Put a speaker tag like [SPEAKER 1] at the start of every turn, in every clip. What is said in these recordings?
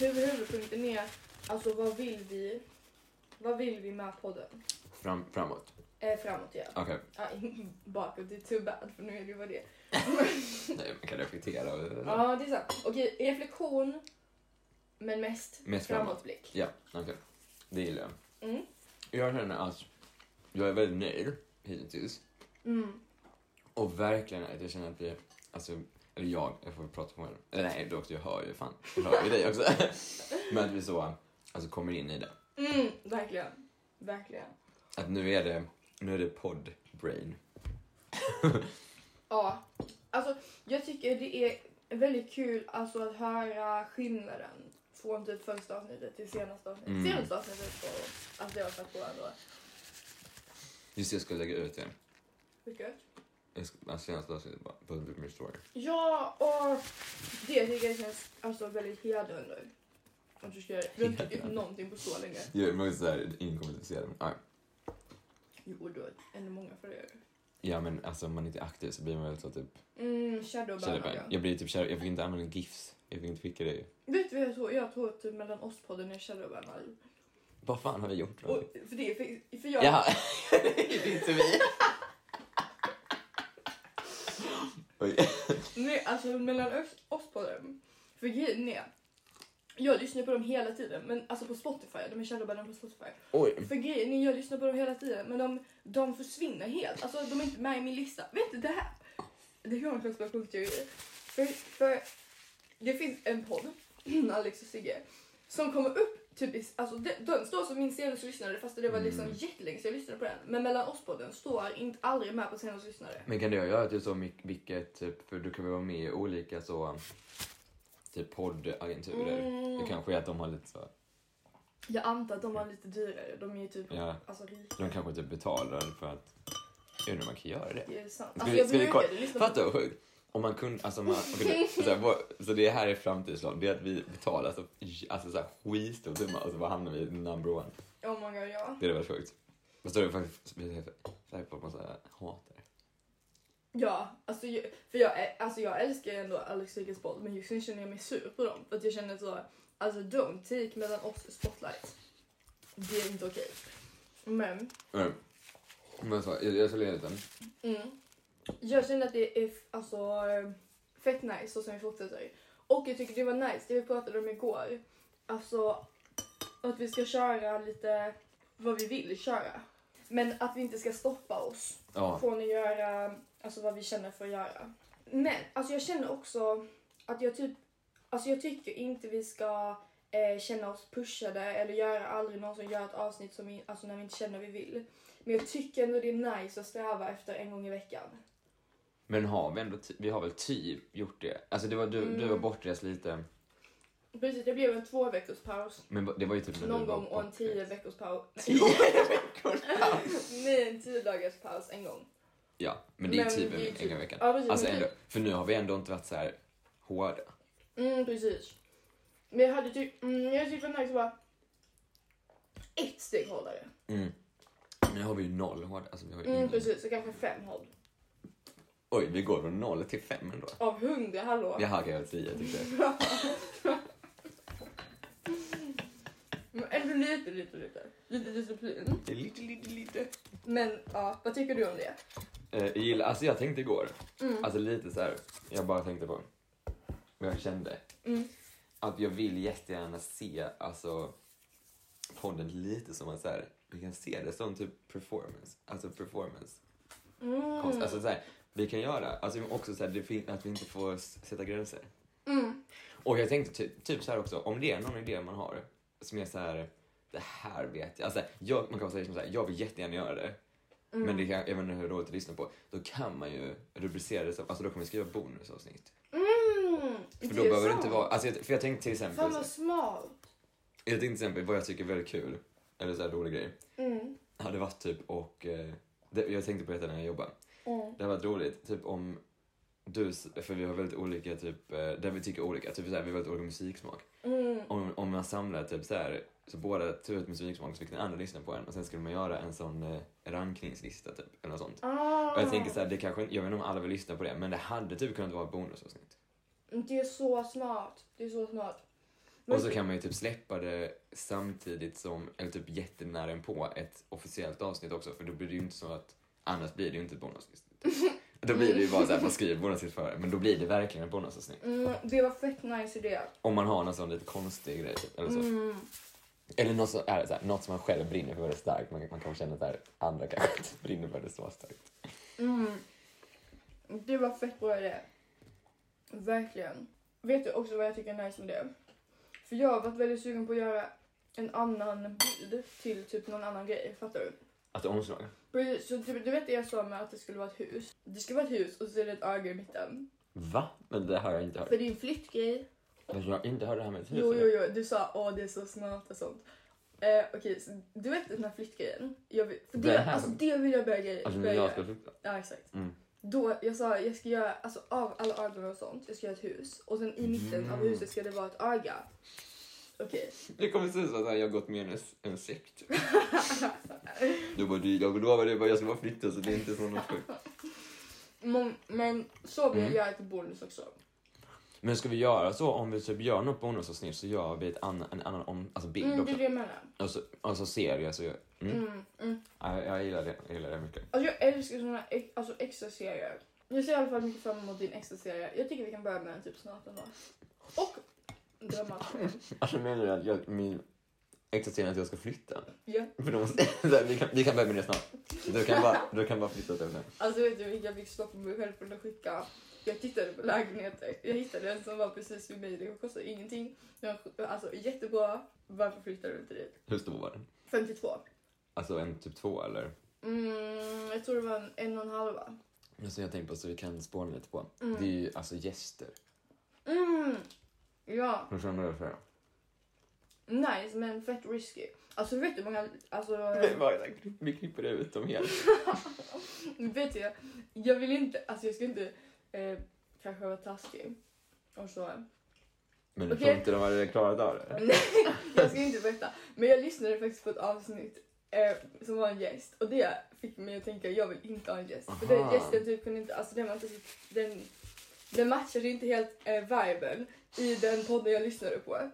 [SPEAKER 1] huvudpunkten är alltså vad vill vi? Vad vill vi med podden?
[SPEAKER 2] Fram, framåt.
[SPEAKER 1] Eh, framåt ja.
[SPEAKER 2] Okej,
[SPEAKER 1] Ah, bakåt, det är too bad för nu är det vad det är.
[SPEAKER 2] Nej, man kan reflektera. och-
[SPEAKER 1] Ja, det är sant. Okej, reflektion. Men mest,
[SPEAKER 2] Mest framåt.
[SPEAKER 1] framåtblick.
[SPEAKER 2] Ja, okej. Det gillar jag.
[SPEAKER 1] Mm.
[SPEAKER 2] Jag känner att jag är väldigt nöjd hittills.
[SPEAKER 1] Mm.
[SPEAKER 2] Och verkligen att jag känner att vi, alltså, eller jag, jag får prata på mig. Eller nej, du också, jag hör ju fan. Jag hör ju dig också. Men att vi så, alltså kommer in i det.
[SPEAKER 1] Mm, verkligen. Verkligen.
[SPEAKER 2] Att nu är det, nu är det podd-brain.
[SPEAKER 1] Ja, alltså jag tycker det är väldigt kul alltså, att höra skillnaden från typ första avsnittet till senaste avsnittet.
[SPEAKER 2] Mm.
[SPEAKER 1] Senaste avsnittet och att det har satt på ändå.
[SPEAKER 2] Just det, jag ska lägga ut det.
[SPEAKER 1] Mycket.
[SPEAKER 2] Jag ska- alltså, Senaste avsnittet bara, på min story.
[SPEAKER 1] Ja, och det tycker jag känns alltså, väldigt hedrande. Att du ska göra det. Du har inte tyckt
[SPEAKER 2] Hedrande.
[SPEAKER 1] någonting på så länge.
[SPEAKER 2] Jo, men såhär, ingen kommer att se det. Men, ja.
[SPEAKER 1] Jo, du har ännu många följare.
[SPEAKER 2] ja, men alltså om man inte är aktiv så blir man väl så typ...
[SPEAKER 1] Mm, shadowban.
[SPEAKER 2] Shadowban. Jag blir typ shadow, jag fick inte använda GIFs. Jag fick inte skicka det.
[SPEAKER 1] Vet du vad jag tror? Jag tror att typ mellan oss-podden är shadowbanad.
[SPEAKER 2] Vad fan har vi gjort? då?
[SPEAKER 1] Och För det, för, för jag...
[SPEAKER 2] Jaha, det är inte vi. Oj.
[SPEAKER 1] Nej, alltså mellan oss, oss på dem. För grejen är, jag lyssnar på dem hela tiden, men alltså på Spotify, de är shadowbannade på Spotify.
[SPEAKER 2] Oj.
[SPEAKER 1] För grejen är, jag lyssnar på dem hela tiden, men de, de försvinner helt. Alltså de är inte med i min lista. Vet du det här? Det kommer en konspirationsteori. För, för det finns en podd, Alex och Sigge, som kommer upp typ i, alltså de- den står som min senaste lyssnare fast det var liksom
[SPEAKER 2] Mm.
[SPEAKER 1] jättelänge sedan jag lyssnade på den. Men mellan oss-podden står inte aldrig med på senaste lyssnare.
[SPEAKER 2] Men kan du göra typ så mycket, vilket, typ, för du kan väl vara med i olika så, typ poddagenturer.
[SPEAKER 1] Mm.
[SPEAKER 2] Det kanske är att de har lite så,
[SPEAKER 1] Jag antar att de var lite dyrare. De är ju typ
[SPEAKER 2] ja,
[SPEAKER 1] alltså, rika.
[SPEAKER 2] de kanske typ betalar för att, jag undrar om man kan göra det.
[SPEAKER 1] Det är sant.
[SPEAKER 2] Ska
[SPEAKER 1] Alltså,
[SPEAKER 2] vi-
[SPEAKER 1] jag
[SPEAKER 2] ska vi kolla?
[SPEAKER 1] brukade lyssna på
[SPEAKER 2] Fattar vad sjukt? Om man kunde, alltså man, okej, så, här, vår, så det här är framtidsplan, det är att vi betalar så, alltså så här skitstor summa och så bara hamnar vi i number one.
[SPEAKER 1] Oh my god, ja.
[SPEAKER 2] Det är väldigt sjukt. Fast då är det faktiskt säkert på man så här hatar det.
[SPEAKER 1] Ja, alltså, jag- för jag, är- alltså jag älskar ju ändå Alex Sigges podd men just nu känner jag mig sur på dem. För att jag känner så, alltså don't take mellan oss spotlight. Det är inte okej. Men,
[SPEAKER 2] Mm. Men så, jag, jag ska leda den.
[SPEAKER 1] mm. Jag känner att det är f- alltså, eh, fett nice så som vi fortsätter. Och jag tycker det var nice det vi pratade om igår. Alltså att vi ska köra lite vad vi vill köra. Men att vi inte ska stoppa oss.
[SPEAKER 2] Ja.
[SPEAKER 1] från att göra alltså, vad vi känner för att göra. Men alltså, jag känner också att jag typ, alltså, jag tycker inte vi ska eh, känna oss pushade eller göra aldrig någon som gör ett avsnitt som vi, alltså, när vi inte känner vi vill. Men jag tycker ändå det är nice att sträva efter en gång i veckan.
[SPEAKER 2] Men har vi ändå, ty- vi har väl typ gjort det? Alltså det var du,
[SPEAKER 1] Mm.
[SPEAKER 2] du var bortrest lite.
[SPEAKER 1] Precis, det blev en två veckors paus.
[SPEAKER 2] Men ba- det var ju typ när
[SPEAKER 1] Någon
[SPEAKER 2] du var
[SPEAKER 1] gång och en
[SPEAKER 2] bortrest.
[SPEAKER 1] tio veckors paus.
[SPEAKER 2] veckor.
[SPEAKER 1] Nej, en tio dagars paus en gång.
[SPEAKER 2] Ja, men det är
[SPEAKER 1] Men
[SPEAKER 2] typ
[SPEAKER 1] det är
[SPEAKER 2] en,
[SPEAKER 1] typ-
[SPEAKER 2] en gång i veckan.
[SPEAKER 1] Ja, precis,
[SPEAKER 2] Alltså
[SPEAKER 1] men
[SPEAKER 2] ändå,
[SPEAKER 1] typ-
[SPEAKER 2] för nu har vi ändå inte varit så här hårda.
[SPEAKER 1] Mm, precis. Men jag hade typ, mm, jag tyckte det var nice att vara ett steg hårdare.
[SPEAKER 2] Mm. Nu har vi ju noll hårda. Alltså, vi har ju
[SPEAKER 1] Mm,
[SPEAKER 2] ingen.
[SPEAKER 1] precis, så kanske fem håll.
[SPEAKER 2] Oj, vi går från noll till fem ändå.
[SPEAKER 1] Av hundra, hallå?
[SPEAKER 2] Jaha, okej, jag har tio tyckte jag.
[SPEAKER 1] Men ändå Mm, lite, lite, lite. Lite disciplin.
[SPEAKER 2] Det är Lite, lite, lite.
[SPEAKER 1] Men ja, vad tycker du om det?
[SPEAKER 2] Eh, jag gillar, alltså jag tänkte igår,
[SPEAKER 1] Mm.
[SPEAKER 2] alltså lite så här. jag bara tänkte på vad jag kände.
[SPEAKER 1] Mm.
[SPEAKER 2] Att jag vill jättegärna se alltså podden lite som att så här, vi kan se det som typ performance, alltså performance. konst.
[SPEAKER 1] Mm.
[SPEAKER 2] Alltså så här, vi kan göra, alltså också så här, det fin- att vi inte får s- sätta gränser.
[SPEAKER 1] Mm.
[SPEAKER 2] Och jag tänkte typ, typ så här också, om det är någon idé man har som är så här, det här vet jag, alltså jag, man kan säga som så här, jag vill jättegärna göra det.
[SPEAKER 1] Mm.
[SPEAKER 2] Men det kan, jag vet inte hur roligt att lyssna på. Då kan man ju rubricera det som, alltså då kan man skriva bonusavsnitt.
[SPEAKER 1] Mm.
[SPEAKER 2] För då behöver det inte vara, alltså jag, för jag tänkte till
[SPEAKER 1] Fan
[SPEAKER 2] exempel,
[SPEAKER 1] vad smalt.
[SPEAKER 2] jag tänkte till exempel vad jag tycker är väldigt kul, eller så här rolig grej,
[SPEAKER 1] Mm.
[SPEAKER 2] hade varit typ och, eh, det, jag tänkte på detta när jag jobbade,
[SPEAKER 1] Mm.
[SPEAKER 2] det hade varit roligt, typ om du, s- för vi har väldigt olika typ, eh, där vi tycker olika, typ så här, vi har väldigt olika musiksmak.
[SPEAKER 1] Mm.
[SPEAKER 2] Om, om man samlar typ så här, så båda tar ut musiksmak så fick den andra lyssna på en och sen skulle man göra en sån eh, rankningslista typ, eller något sånt.
[SPEAKER 1] Ah.
[SPEAKER 2] Och jag tänker så här, det kanske, inte- jag vet inte om alla vill lyssna på det, men det hade typ kunnat vara ett bonusavsnitt.
[SPEAKER 1] Det är så smart. Det är så smart. Men-
[SPEAKER 2] Och så kan man ju typ släppa det samtidigt som, eller typ jättenära på ett officiellt avsnitt också för då blir det ju inte så att, annars blir det ju inte ett bonusavsnitt. Då blir det ju bara såhär, man skriver bonusavsnitt för men då blir det verkligen ett bonusavsnitt.
[SPEAKER 1] Mm, det var fett nice idé.
[SPEAKER 2] Om man har någon sån lite konstig grej typ, eller så.
[SPEAKER 1] Mm.
[SPEAKER 2] Eller något, så, är det så här, något som man själv brinner för väldigt starkt, man, man kan känna att så här, andra kanske inte brinner för det så starkt.
[SPEAKER 1] Mm. Det var fett bra idé. Verkligen. Vet du också vad jag tycker är nice med det? För jag har varit väldigt sugen på att göra en annan bild till typ någon annan grej. Fattar du?
[SPEAKER 2] Att omslag?
[SPEAKER 1] Precis, Så typ, du vet det jag sa med att det skulle vara ett hus? Det ska vara ett hus och så är det ett öga i mitten.
[SPEAKER 2] Va? Men det har jag inte hört.
[SPEAKER 1] För din
[SPEAKER 2] Typ
[SPEAKER 1] flyttgrej.
[SPEAKER 2] Men jag har inte hört det här med ett hus.
[SPEAKER 1] Jo,
[SPEAKER 2] eller?
[SPEAKER 1] jo, jo. Du sa åh det är så smart och sånt. Eh, Okej, så du vet den här flyttgrejen? Jag vill, för det,
[SPEAKER 2] Det här-
[SPEAKER 1] alltså, det vill jag börja gre-
[SPEAKER 2] Alltså
[SPEAKER 1] börja
[SPEAKER 2] när jag
[SPEAKER 1] göra.
[SPEAKER 2] ska flytta.
[SPEAKER 1] Ja, exakt.
[SPEAKER 2] Mm.
[SPEAKER 1] Då, jag sa jag ska göra, alltså av alla ögon och sånt, jag ska göra ett hus. Och sen i mitten av
[SPEAKER 2] Mm.
[SPEAKER 1] huset ska det vara ett öga. Okej.
[SPEAKER 2] Det kommer se ut som att jag har gått med i en, s- en sekt. Du bara, du, jag lovar dig, jag bara, jag ska bara flytta så det är inte så något sjukt.
[SPEAKER 1] Men, men så vill jag
[SPEAKER 2] Mm.
[SPEAKER 1] göra ett bonus också.
[SPEAKER 2] Men ska vi göra så om vi typ gör något bonusavsnitt så gör vi ett annan, en annan om, alltså bild
[SPEAKER 1] Mm, det
[SPEAKER 2] också.
[SPEAKER 1] är det jag menar.
[SPEAKER 2] Och, så, och så ser vi. Alltså, jag, mm.
[SPEAKER 1] Mm, mm.
[SPEAKER 2] Ja, jag, gillar det, jag gillar det mycket.
[SPEAKER 1] Alltså jag älskar såna ex, alltså extra serier. Jag ser i alla fall mycket fram emot din extra serie. Jag tycker vi kan börja med den typ snart ändå. Och drömmar.
[SPEAKER 2] Alltså menar du att jag, min existerande att jag ska flytta?
[SPEAKER 1] Ja.
[SPEAKER 2] För då måste, så här, vi, kan, vi kan börja med det snart. Du kan bara, du kan bara flytta till det.
[SPEAKER 1] Alltså vet du vilka jag fick stopp på mig själv för den skicka? Jag tittade på lägenheter. Jag hittade en som var precis vid mig. Det kostade ingenting. Den var alltså jättebra. Varför flyttade du inte dit?
[SPEAKER 2] Hur stor var den?
[SPEAKER 1] 52.
[SPEAKER 2] Alltså en typ två eller?
[SPEAKER 1] Mm, jag tror det var en, en och en halva.
[SPEAKER 2] Alltså, jag tänkte på så vi kan spåna lite på.
[SPEAKER 1] Mm.
[SPEAKER 2] Det är ju alltså gäster.
[SPEAKER 1] Mm. Ja,
[SPEAKER 2] Hur känner du för det?
[SPEAKER 1] nice men fett risky. Alltså vet du hur många... Alltså,
[SPEAKER 2] Men bara, vi klipper ut dem helt.
[SPEAKER 1] vet du, jag vill inte... Alltså jag ska inte eh, kanske vara taskig. Och så.
[SPEAKER 2] Men du
[SPEAKER 1] Okej.
[SPEAKER 2] tror inte de hade klarat av det?
[SPEAKER 1] Nej, jag ska inte berätta. Men jag lyssnade faktiskt på ett avsnitt eh, som var en gäst och det fick mig att tänka jag vill inte ha en gäst. För den
[SPEAKER 2] Aha.
[SPEAKER 1] gästen typ kunde inte, alltså den var inte, så- den, den matchade inte helt eh, viben i den podden jag lyssnade på.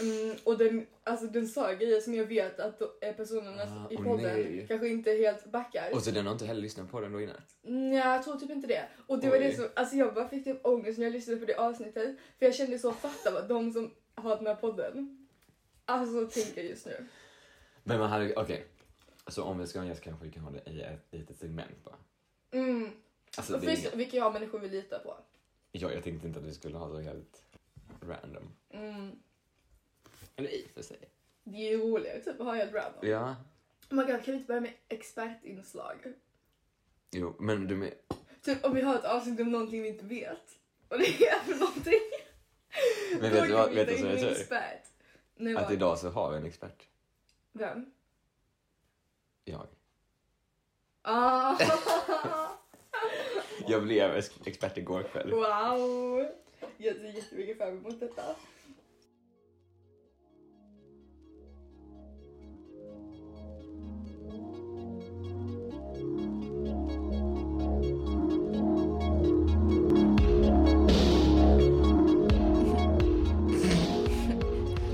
[SPEAKER 1] Mm, och den, alltså den sa grejer som jag vet att eh, personerna
[SPEAKER 2] Ah,
[SPEAKER 1] i
[SPEAKER 2] åh
[SPEAKER 1] podden
[SPEAKER 2] nej.
[SPEAKER 1] kanske inte helt backar.
[SPEAKER 2] Och så den har inte heller lyssnat på den då innan?
[SPEAKER 1] Nej, jag tror typ inte det. Och det var
[SPEAKER 2] Oj.
[SPEAKER 1] det som, alltså jag bara fick typ ångest när jag lyssnade på det avsnittet. För jag kände så, fatta vad de som har den här podden, alltså tänker just nu.
[SPEAKER 2] Men man hade, okej. Så om vi ska ha en gäst kanske vi kan ha det i ett litet segment bara.
[SPEAKER 1] Mm.
[SPEAKER 2] Alltså,
[SPEAKER 1] Och
[SPEAKER 2] det är
[SPEAKER 1] först, vilka jag människor vi litar på.
[SPEAKER 2] ja, jag tänkte inte att vi skulle ha så helt random.
[SPEAKER 1] Mm.
[SPEAKER 2] Eller i och för sig.
[SPEAKER 1] Det är ju roligare typ att ha helt random.
[SPEAKER 2] Ja.
[SPEAKER 1] Oh my god, kan vi inte börja med expertinslag?
[SPEAKER 2] Jo, men du men...
[SPEAKER 1] Typ om vi har ett avsnitt om någonting vi inte vet. Och det är för någonting.
[SPEAKER 2] Men
[SPEAKER 1] då
[SPEAKER 2] vet du vad,
[SPEAKER 1] kan vi
[SPEAKER 2] vet du
[SPEAKER 1] hitta
[SPEAKER 2] som är
[SPEAKER 1] in en
[SPEAKER 2] tur?
[SPEAKER 1] expert. Nej,
[SPEAKER 2] Att
[SPEAKER 1] vad?
[SPEAKER 2] idag så har vi en expert.
[SPEAKER 1] Vem?
[SPEAKER 2] Jag.
[SPEAKER 1] Ah.
[SPEAKER 2] Jag blev ex- expert igår kväll.
[SPEAKER 1] Wow! Jag ser jättemycket fram emot detta.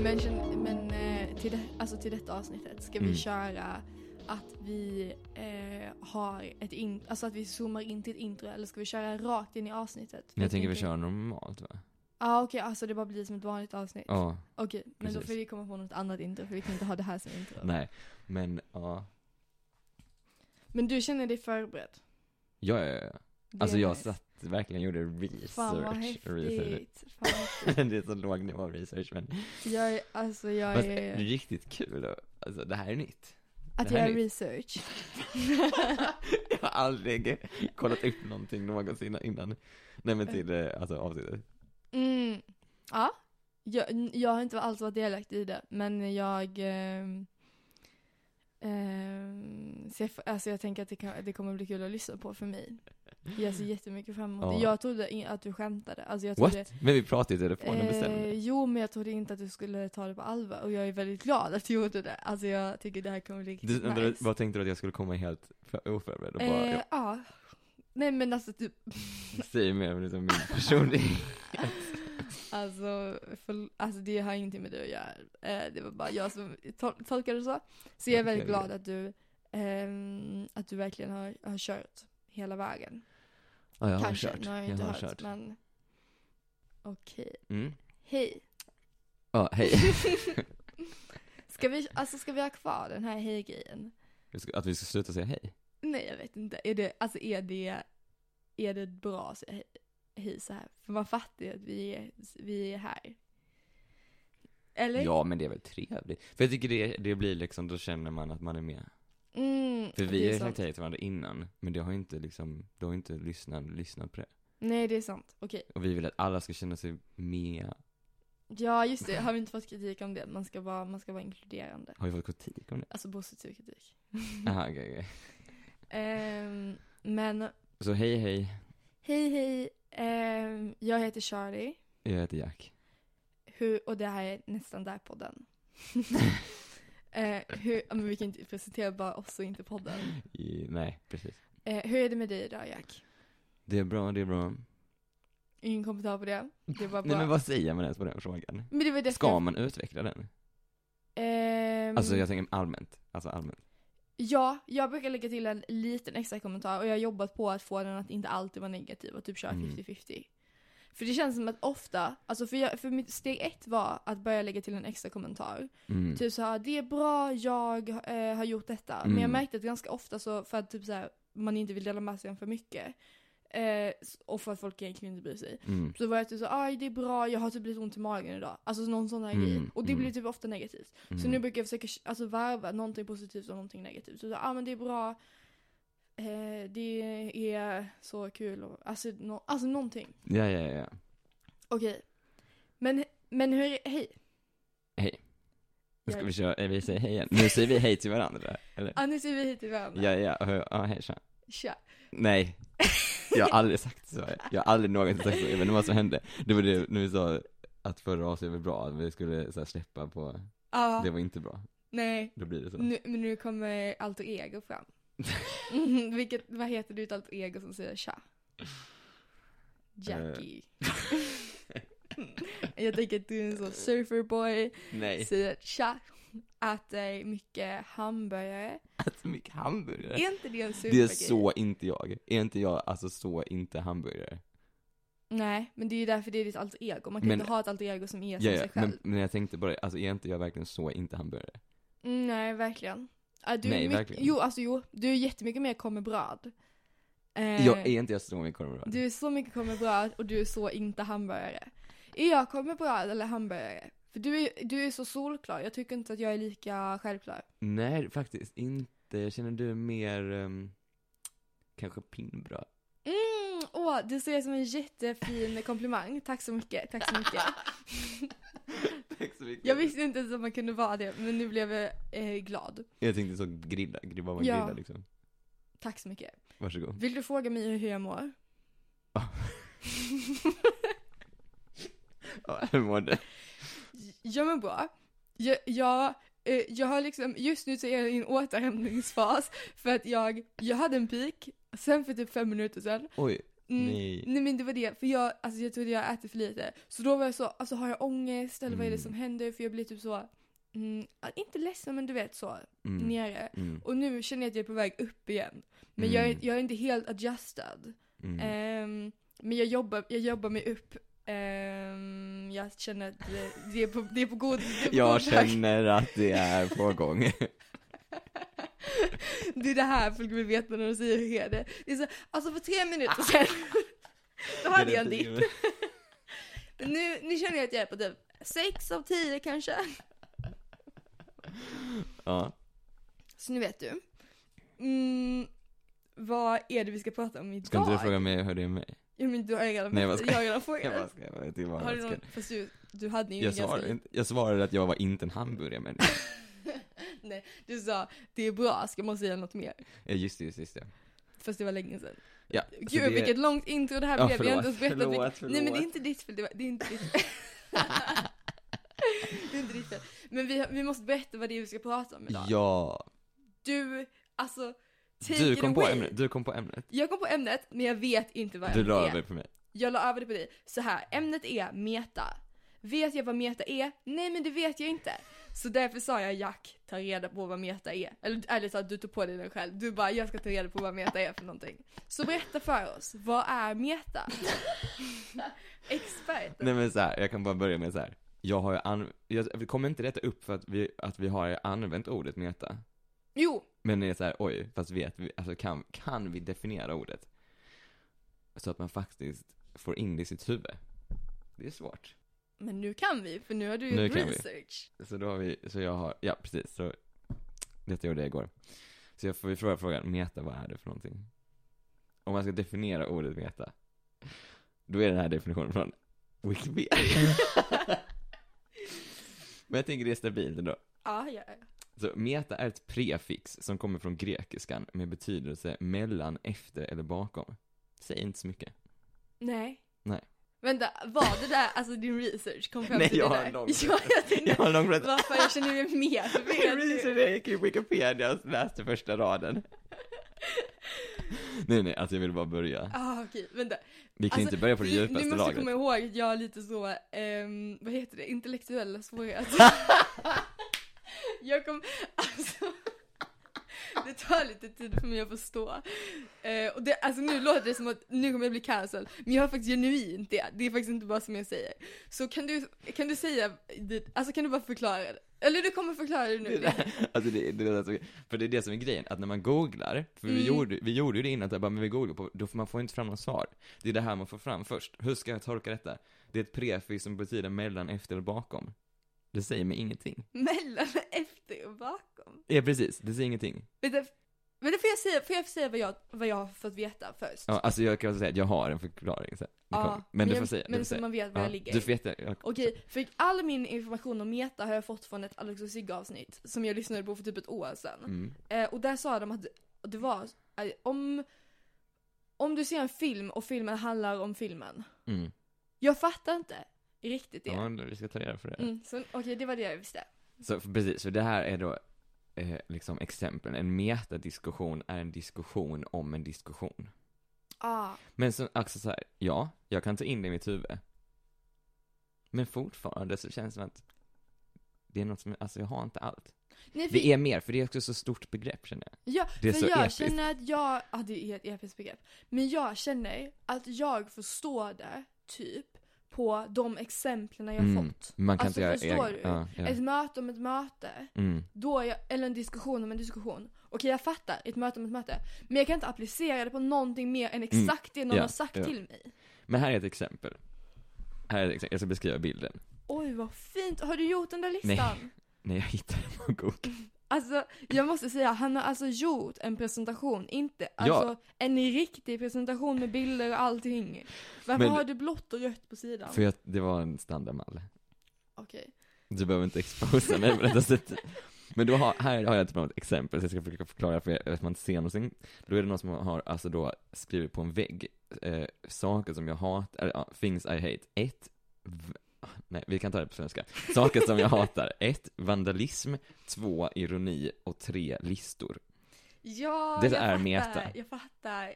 [SPEAKER 1] Men, känn- men eh, till, det, alltså till detta avsnittet ska vi
[SPEAKER 2] Mm.
[SPEAKER 1] köra att vi eh, har ett in, alltså att vi zoomar in till ett intro eller ska vi köra rakt in i avsnitet?
[SPEAKER 2] Men jag tänker vi
[SPEAKER 1] tänker-
[SPEAKER 2] kör normalt va?
[SPEAKER 1] Ja okej, alltså det bara blir som ett vanligt avsnitt.
[SPEAKER 2] Ja,
[SPEAKER 1] Okej, men då
[SPEAKER 2] precis.
[SPEAKER 1] får vi komma på något annat intro för vi kan inte ha det här som intro.
[SPEAKER 2] nej. Men ja.
[SPEAKER 1] Men du känner dig förberedd?
[SPEAKER 2] Ja, ja, ja.
[SPEAKER 1] Det
[SPEAKER 2] Alltså
[SPEAKER 1] är
[SPEAKER 2] jag
[SPEAKER 1] nice.
[SPEAKER 2] satt verkligen gjorde research.
[SPEAKER 1] Fan vad häftigt. Fan, vad häftigt.
[SPEAKER 2] research. det är så låg nivå av research men.
[SPEAKER 1] jag är, alltså jag
[SPEAKER 2] Fast,
[SPEAKER 1] är,
[SPEAKER 2] riktigt kul. och- Alltså det här är nytt.
[SPEAKER 1] att
[SPEAKER 2] det
[SPEAKER 1] jag
[SPEAKER 2] här är
[SPEAKER 1] är
[SPEAKER 2] nytt.
[SPEAKER 1] research.
[SPEAKER 2] jag har aldrig kollat upp någonting någonsin innan. Nej men till eh, alltså, avsnittet.
[SPEAKER 1] Mm. Ja, jag, jag har inte alls varit delaktig i det, men jag ehm, ehm, ser, f- alltså jag tänker att det, kan, det kommer bli kul att lyssna på för mig. Jag ser jättemycket fram emot det.
[SPEAKER 2] Ja.
[SPEAKER 1] Jag trodde in, att du skämtade. Alltså jag trodde,
[SPEAKER 2] What? Men vi pratade i telefonen
[SPEAKER 1] Eh,
[SPEAKER 2] bestämde.
[SPEAKER 1] jo, men jag trodde inte att du skulle ta det på allvar och jag är väldigt glad att du gjorde det. Alltså jag tycker det här kommer bli riktigt
[SPEAKER 2] Du, vänta,
[SPEAKER 1] nice.
[SPEAKER 2] Vad tänkte du att jag skulle komma helt för- oförberedd och bara
[SPEAKER 1] eh, ja. Nej men alltså typ,
[SPEAKER 2] säga mer om liksom min personlighet?
[SPEAKER 1] Alltså, för, alltså det har ingenting med det att göra. Eh, det var bara jag som tol- tolkade det så. Så jag är väldigt
[SPEAKER 2] Okej.
[SPEAKER 1] glad att du, ehm, att du verkligen har, har kört hela vägen.
[SPEAKER 2] Ja, jag har
[SPEAKER 1] Kanske,
[SPEAKER 2] kört.
[SPEAKER 1] nu har jag
[SPEAKER 2] Jag
[SPEAKER 1] inte
[SPEAKER 2] har
[SPEAKER 1] hört.
[SPEAKER 2] kört.
[SPEAKER 1] Men okej.
[SPEAKER 2] Mm.
[SPEAKER 1] Hej.
[SPEAKER 2] Ja, hej.
[SPEAKER 1] Ska vi, alltså ska vi ha kvar den här hej-grejen?
[SPEAKER 2] Vi ska- Att vi ska sluta säga hej.
[SPEAKER 1] Nej jag vet inte. Är det, alltså är det, är det bra att säga hej, hej så här? För man fattar ju att vi är, vi är här. Eller?
[SPEAKER 2] Ja, men det är väl trevligt. För jag tycker det, det blir liksom, då känner man att man är med.
[SPEAKER 1] Mm,
[SPEAKER 2] För vi
[SPEAKER 1] det
[SPEAKER 2] har
[SPEAKER 1] är
[SPEAKER 2] ju
[SPEAKER 1] sant.
[SPEAKER 2] sagt hej till varandra innan, men det har ju inte liksom, då har ju inte lyssnat, lyssnat på det.
[SPEAKER 1] Nej det är sant, okej.
[SPEAKER 2] Och vi vill att alla ska känna sig med.
[SPEAKER 1] Ja just det, har vi inte fått kritik om det? Man ska vara, man ska vara inkluderande.
[SPEAKER 2] Har vi fått kritik om det?
[SPEAKER 1] Alltså positiv kritik.
[SPEAKER 2] Aha, okej, okej.
[SPEAKER 1] Ehm, men
[SPEAKER 2] Så hej hej,
[SPEAKER 1] hej hej, Ehm, jag heter Charlie
[SPEAKER 2] jag heter Jack.
[SPEAKER 1] hur, och det här är nästan där podden. Eh, hur, ja, men vi kan inte presentera bara oss och inte podden.
[SPEAKER 2] I, nej, precis.
[SPEAKER 1] Eh, hur är det med dig idag Jack?
[SPEAKER 2] Det är bra, det är bra.
[SPEAKER 1] Ingen kommentar på det? Det var
[SPEAKER 2] Nej
[SPEAKER 1] bara...
[SPEAKER 2] men vad säger man ens på den frågan?
[SPEAKER 1] men det Mm. var därför-
[SPEAKER 2] Ska man utveckla den?
[SPEAKER 1] Ehm,
[SPEAKER 2] Alltså jag tänker allmänt, alltså allmänt.
[SPEAKER 1] Ja, jag brukar lägga till en liten extra kommentar och jag har jobbat på att få den att inte alltid vara negativ och typ köra
[SPEAKER 2] Mm.
[SPEAKER 1] 50-50. För det känns som att ofta, alltså för, jag, för mitt steg ett var att börja lägga till en extra kommentar.
[SPEAKER 2] Mm.
[SPEAKER 1] Typ såhär, det är bra, jag eh, har gjort detta. Men jag
[SPEAKER 2] Mm.
[SPEAKER 1] märkte att ganska ofta så, för att typ såhär, man inte vill dela med sig för mycket. Eh, s- och för att folk egentligen inte bryr sig.
[SPEAKER 2] Mm.
[SPEAKER 1] Så var jag typ så aj det är bra, jag har typ lite ont i magen idag. Alltså någon sån här
[SPEAKER 2] Mm,
[SPEAKER 1] grej. Och det
[SPEAKER 2] mm.
[SPEAKER 1] blir typ ofta negativt.
[SPEAKER 2] Mm.
[SPEAKER 1] Så nu brukar jag försöka alltså, varva någonting positivt och någonting negativt. Så ja ah, men det är bra, eh, det är så kul och alltså, nå- alltså någonting.
[SPEAKER 2] Ja, ja, ja.
[SPEAKER 1] Okej. Men, men hur, hej.
[SPEAKER 2] Nu ska
[SPEAKER 1] Jag-
[SPEAKER 2] vi köra, eh, vi säger hej igen. Nu säger vi hej till varandra, eller?
[SPEAKER 1] Ah, nu ser vi hit till varandra.
[SPEAKER 2] Ja, ja, ja, ja, hej tja.
[SPEAKER 1] Tja.
[SPEAKER 2] Nej, jag har aldrig sagt så. Jag har aldrig någonsin sagt så. Jag vet inte vad som hände. Det var det, när vi sa att förra avsnittet var bra, att vi skulle så här, släppa på,
[SPEAKER 1] Ah,
[SPEAKER 2] det var inte bra.
[SPEAKER 1] nej.
[SPEAKER 2] Då blir det så.
[SPEAKER 1] Nu, men nu kommer alter ego fram. Mhm, Vilket, vad heter du ett alter ego som säger tja?
[SPEAKER 2] Eh.
[SPEAKER 1] Jackie. jag tänker att du är en sån surferboy,
[SPEAKER 2] Nej,
[SPEAKER 1] säger tja, äter mycket hamburgare.
[SPEAKER 2] alltså mycket hamburgare.
[SPEAKER 1] Är inte det en
[SPEAKER 2] Det är
[SPEAKER 1] supergrej?
[SPEAKER 2] så inte jag. Är inte jag alltså så inte hamburgare?
[SPEAKER 1] Nej, men det är ju därför det är ditt alter ego. Man kan
[SPEAKER 2] Men-
[SPEAKER 1] inte ha ett alter ego som är som
[SPEAKER 2] Ja, ja,
[SPEAKER 1] sig själv.
[SPEAKER 2] men, men jag tänkte på det, alltså är inte jag verkligen så inte hamburgare?
[SPEAKER 1] Mm, Nej, verkligen. Ah, du är
[SPEAKER 2] Nej,
[SPEAKER 1] mycket,
[SPEAKER 2] verkligen.
[SPEAKER 1] Jo, alltså jo. Du är jättemycket mer kommer bröd. Eh,
[SPEAKER 2] Jag är inte jag så mycket korvbröd?
[SPEAKER 1] Du är så mycket kommer bröd och du är så inte hamburgare. Är jag kommer bröd eller hamburgare? För du är, du är så solklar, jag tycker inte att jag är lika självklar.
[SPEAKER 2] Nej, faktiskt inte. Jag känner du är mer, ehm, kanske pinnbröd?
[SPEAKER 1] Mm, åh, du ser det som en jättefin komplimang. Tack så mycket, tack så mycket.
[SPEAKER 2] Tack så mycket.
[SPEAKER 1] Jag visste inte ens att man kunde vara det, men nu blev jag eh, glad.
[SPEAKER 2] Jag tänkte så grilla, gri- vad man
[SPEAKER 1] Ja.
[SPEAKER 2] grillar liksom.
[SPEAKER 1] Tack så mycket.
[SPEAKER 2] Varsågod.
[SPEAKER 1] Vill du fråga mig hur jag mår?
[SPEAKER 2] Ja, hur mår du?
[SPEAKER 1] Jag mår bra. Jag, jag, eh, jag har liksom, just nu så är jag i en återhämtningsfas för att jag, jag hade en peak, sen för typ fem minuter sedan.
[SPEAKER 2] Oj,
[SPEAKER 1] Mm,
[SPEAKER 2] nej.
[SPEAKER 1] Nej men det var det, för jag, alltså, jag trodde jag ätit för lite. Så då var jag så, alltså har jag ångest eller vad är det
[SPEAKER 2] Mm.
[SPEAKER 1] som händer? För jag blir typ så, mm, ja, inte ledsen men du vet så,
[SPEAKER 2] Mm.
[SPEAKER 1] nere.
[SPEAKER 2] Mm.
[SPEAKER 1] Och nu känner jag att jag är på väg upp igen. Men
[SPEAKER 2] Mm.
[SPEAKER 1] jag, är, jag är inte helt adjusted.
[SPEAKER 2] Mm.
[SPEAKER 1] Ehm, men jag jobbar, jag jobbar mig upp. Ehm, jag känner att det, det, är på, det är på god, det är på
[SPEAKER 2] jag
[SPEAKER 1] god väg.
[SPEAKER 2] känner att det är på gång.
[SPEAKER 1] Det är det här folk vill veta när de säger hur är det. det är så, alltså för tre minuter
[SPEAKER 2] Ah.
[SPEAKER 1] sedan, då hade jag en dipp. Men Nu, nu känner jag att jag är på typ sex av tio kanske.
[SPEAKER 2] Ja.
[SPEAKER 1] Så nu vet du. Mm, vad är det vi ska prata om idag?
[SPEAKER 2] Ska inte du fråga mig hur det är med mig?
[SPEAKER 1] Ja men du har ju redan,
[SPEAKER 2] Nej, vad ska-
[SPEAKER 1] jag har redan
[SPEAKER 2] Jag bara
[SPEAKER 1] frågat.
[SPEAKER 2] ska, jag vet inte vad
[SPEAKER 1] Har
[SPEAKER 2] jag
[SPEAKER 1] du
[SPEAKER 2] ska.
[SPEAKER 1] någon, fast du, du hade ju
[SPEAKER 2] Jag
[SPEAKER 1] ganska-
[SPEAKER 2] svarade, inte- jag svarade att jag var inte en hamburgermänniska.
[SPEAKER 1] Du sa, det är bra, ska man säga något mer?
[SPEAKER 2] Ja, just det, just det, just det.
[SPEAKER 1] Fast det var länge sedan.
[SPEAKER 2] Ja, så
[SPEAKER 1] Gud
[SPEAKER 2] Alltså, det-
[SPEAKER 1] vilket långt intro det här
[SPEAKER 2] Ja,
[SPEAKER 1] blev. jag har
[SPEAKER 2] förlåt,
[SPEAKER 1] inte ens berättat vilket-
[SPEAKER 2] förlåt,
[SPEAKER 1] Nej men det är
[SPEAKER 2] förlåt.
[SPEAKER 1] inte ditt fel. Det, var, det är inte ditt fel. det är inte ditt fel. Men vi, har- vi måste berätta vad det är vi ska prata om idag.
[SPEAKER 2] Ja.
[SPEAKER 1] Du, alltså, take
[SPEAKER 2] Du
[SPEAKER 1] it
[SPEAKER 2] kom på
[SPEAKER 1] away.
[SPEAKER 2] ämnet, du kom på ämnet.
[SPEAKER 1] Jag kom på ämnet, men jag vet inte vad
[SPEAKER 2] Du
[SPEAKER 1] ämnet
[SPEAKER 2] la
[SPEAKER 1] är.
[SPEAKER 2] över på mig.
[SPEAKER 1] jag la över det på dig. Så här, ämnet är meta. Vet jag vad meta är? Nej men det vet jag inte. Så därför sa jag Jack, ta reda på vad meta är. Eller ärligt talat, du tog på dig den själv. Du bara, jag ska ta reda på vad meta är för någonting. Så berätta för oss, vad är meta? Expert.
[SPEAKER 2] Nej men så här, jag kan bara börja med så här. Jag har ju an... jag kommer inte detta upp för att vi, att vi har använt ordet meta.
[SPEAKER 1] Jo,
[SPEAKER 2] Men det är så här, oj, fast vet vi, alltså kan, kan vi definiera ordet? Så att man faktiskt får in det i sitt huvud. Det är svårt.
[SPEAKER 1] men nu kan vi, för nu har du
[SPEAKER 2] Nu
[SPEAKER 1] gjort
[SPEAKER 2] kan vi.
[SPEAKER 1] research.
[SPEAKER 2] Så då har vi, så jag har, ja precis, så detta gjorde jag igår. Så jag får ju fråga frågan, meta, vad är det för någonting? Om man ska definiera ordet meta, då är den här definitionen från Wikipedia. Men jag tänker det är stabilt ändå.
[SPEAKER 1] Ja, ja, ja.
[SPEAKER 2] Så meta är ett prefix som kommer från grekiskan med betydelse mellan, efter eller bakom. Säg inte så mycket.
[SPEAKER 1] Nej.
[SPEAKER 2] Nej.
[SPEAKER 1] Vänta, var det där, alltså din research kom fram
[SPEAKER 2] Nej,
[SPEAKER 1] till
[SPEAKER 2] jag
[SPEAKER 1] det
[SPEAKER 2] har
[SPEAKER 1] där?
[SPEAKER 2] en lång
[SPEAKER 1] ja, jag
[SPEAKER 2] Jag
[SPEAKER 1] tänkte,
[SPEAKER 2] har en lång berättelse.
[SPEAKER 1] varför jag känner mig mer förvirrad nu.
[SPEAKER 2] Research, jag gick i Wikipedia och läste första raden. Nej, nej, alltså jag vill bara börja.
[SPEAKER 1] Ah, okej, vänta.
[SPEAKER 2] Vi kan
[SPEAKER 1] Alltså,
[SPEAKER 2] inte börja på det
[SPEAKER 1] Nu
[SPEAKER 2] djupaste
[SPEAKER 1] måste jag
[SPEAKER 2] lagret.
[SPEAKER 1] komma ihåg att jag har lite så, ehm, vad heter det, intellektuella svårigheter. jag kom, alltså. Det tar lite tid för mig att förstå. Eh, och det, alltså nu låter det som att nu kommer jag bli cancelled, men jag har faktiskt genuint det. Det är faktiskt inte bara som jag säger. Så kan du, kan du säga, det, alltså kan du bara förklara det? Eller du kommer förklara det
[SPEAKER 2] Det
[SPEAKER 1] nu.
[SPEAKER 2] där, alltså det, det, där som- för det är det som är grejen, att när man googlar, för vi,
[SPEAKER 1] Mm.
[SPEAKER 2] gjorde, vi gjorde ju det innan, att jag bara, men vi googlar på, då får man får inte fram något svar. Det är det här man får fram först. Hur ska jag tolka detta? Det är ett prefix som betyder mellan, efter och bakom. Det säger mig ingenting.
[SPEAKER 1] Mellan, efter och bakom.
[SPEAKER 2] Ja, precis, det säger ingenting.
[SPEAKER 1] Vänta, vänta får jag säga, får jag säga vad, jag, vad jag har fått veta först?
[SPEAKER 2] Ja, alltså jag kan säga att jag har en förklaring sen. Det kommer. men du
[SPEAKER 1] jag-
[SPEAKER 2] får säga, du
[SPEAKER 1] Men
[SPEAKER 2] får
[SPEAKER 1] så
[SPEAKER 2] säga.
[SPEAKER 1] man vet var
[SPEAKER 2] Ja,
[SPEAKER 1] jag ligger.
[SPEAKER 2] Du får jätte... jag-
[SPEAKER 1] Okej, för all min information om meta har jag fått från ett Alex och Sigge avsnitt som jag lyssnade på för typ ett år sedan.
[SPEAKER 2] Mm.
[SPEAKER 1] Eh, och där sa de att det var, eh, om, om du ser en film och filmen handlar om filmen.
[SPEAKER 2] Mm.
[SPEAKER 1] Jag fattar inte riktigt det.
[SPEAKER 2] Ja, vi ska ta reda på det.
[SPEAKER 1] Mm, så, Okej, det var det jag visste.
[SPEAKER 2] Så för- precis, så det här är då eh, liksom exemplen. En metadiskussion är en diskussion om en diskussion.
[SPEAKER 1] Ah,
[SPEAKER 2] Men så, också så här, ja, jag kan ta in det i mitt huvud. Men fortfarande så känns det som att det är något som, alltså jag har inte allt.
[SPEAKER 1] nej, för,
[SPEAKER 2] Det är mer, för det är också så stort begrepp känner jag.
[SPEAKER 1] ja,
[SPEAKER 2] det är
[SPEAKER 1] för
[SPEAKER 2] så
[SPEAKER 1] jag
[SPEAKER 2] episkt.
[SPEAKER 1] känner att jag, ja ah, det är ett episkt begrepp. Men jag känner att jag förstår det typ på de exemplen jag
[SPEAKER 2] Mm.
[SPEAKER 1] fått.
[SPEAKER 2] Man kan
[SPEAKER 1] Alltså,
[SPEAKER 2] inte
[SPEAKER 1] förstår
[SPEAKER 2] göra
[SPEAKER 1] du? Alltså-
[SPEAKER 2] Ja, ja.
[SPEAKER 1] Ett möte om ett möte,
[SPEAKER 2] Mm.
[SPEAKER 1] då är jag, eller en diskussion om en diskussion. Okej jag fattar, ett möte om ett möte. Men jag kan inte applicera det på någonting mer än exakt det någon
[SPEAKER 2] Mm. Ja,
[SPEAKER 1] har sagt
[SPEAKER 2] ja.
[SPEAKER 1] till mig.
[SPEAKER 2] Men här är ett exempel. Här är ett exempel, jag ska beskriva bilden.
[SPEAKER 1] Oj vad fint, har du gjort den där listan?
[SPEAKER 2] Nej, jag hittade den på Google.
[SPEAKER 1] Alltså jag måste säga, han har alltså gjort en presentation, inte alltså en riktig presentation med bilder och allting. Varför
[SPEAKER 2] Men-
[SPEAKER 1] har du blått och rött på sidan?
[SPEAKER 2] För jag, det var en standardmall.
[SPEAKER 1] Okej.
[SPEAKER 2] Du behöver inte exposa mig på detta sättet. Men då har, här har jag typ något exempel, så jag ska försöka förklara för er, att man inte ser någonting. Då är det någon som har alltså då skrivit på en vägg, eh, saker som jag hatar, eller, ja, things I hate. Ett, v- ah, nej vi kan ta det på svenska. Saker som jag hatar. Ett, vandalism. Två, ironi. Och tre, listor.
[SPEAKER 1] Ja,
[SPEAKER 2] Det
[SPEAKER 1] jag
[SPEAKER 2] är
[SPEAKER 1] fattar,
[SPEAKER 2] meta.
[SPEAKER 1] jag fattar.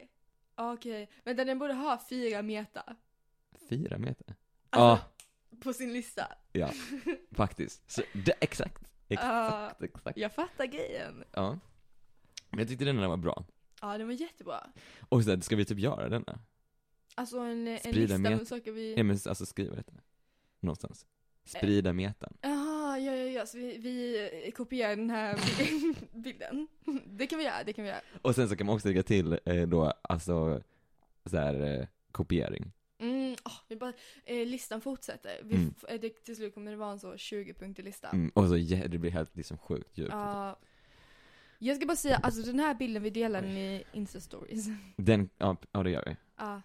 [SPEAKER 1] Okej, vänta den borde ha fyra meta.
[SPEAKER 2] Fyra meter.
[SPEAKER 1] Alltså,
[SPEAKER 2] Ja,
[SPEAKER 1] på sin lista.
[SPEAKER 2] faktiskt. Så, det, exakt.
[SPEAKER 1] Ah.
[SPEAKER 2] Exakt, exakt.
[SPEAKER 1] Jag fattar grejen.
[SPEAKER 2] Ja. Men jag tyckte den där var bra.
[SPEAKER 1] Ja, den var jättebra.
[SPEAKER 2] Och så här, ska vi typ göra denna?
[SPEAKER 1] Alltså en, en
[SPEAKER 2] Sprida
[SPEAKER 1] lista
[SPEAKER 2] met-
[SPEAKER 1] med saker
[SPEAKER 2] Ja
[SPEAKER 1] vi...
[SPEAKER 2] men alltså skriva detta. Någonstans. Sprida metan.
[SPEAKER 1] Jaha, ja, ja, ja, så vi, vi kopierar den här bilden. Det kan vi göra, det kan vi göra.
[SPEAKER 2] Och sen så kan man också lägga till eh, då, alltså, så här, eh, kopiering.
[SPEAKER 1] Mm, åh, vi bara, eh, listan fortsätter. Vi,
[SPEAKER 2] Mm.
[SPEAKER 1] f- eh, det, till slut kommer det vara en så 20-punkterlista.
[SPEAKER 2] Mm. Och så, ja, det blir helt liksom sjukt djupt.
[SPEAKER 1] Ja. jag ska bara säga, alltså den här bilden vi delar i Insta-stories.
[SPEAKER 2] Den, ja, p- ja det gör vi.
[SPEAKER 1] Ja.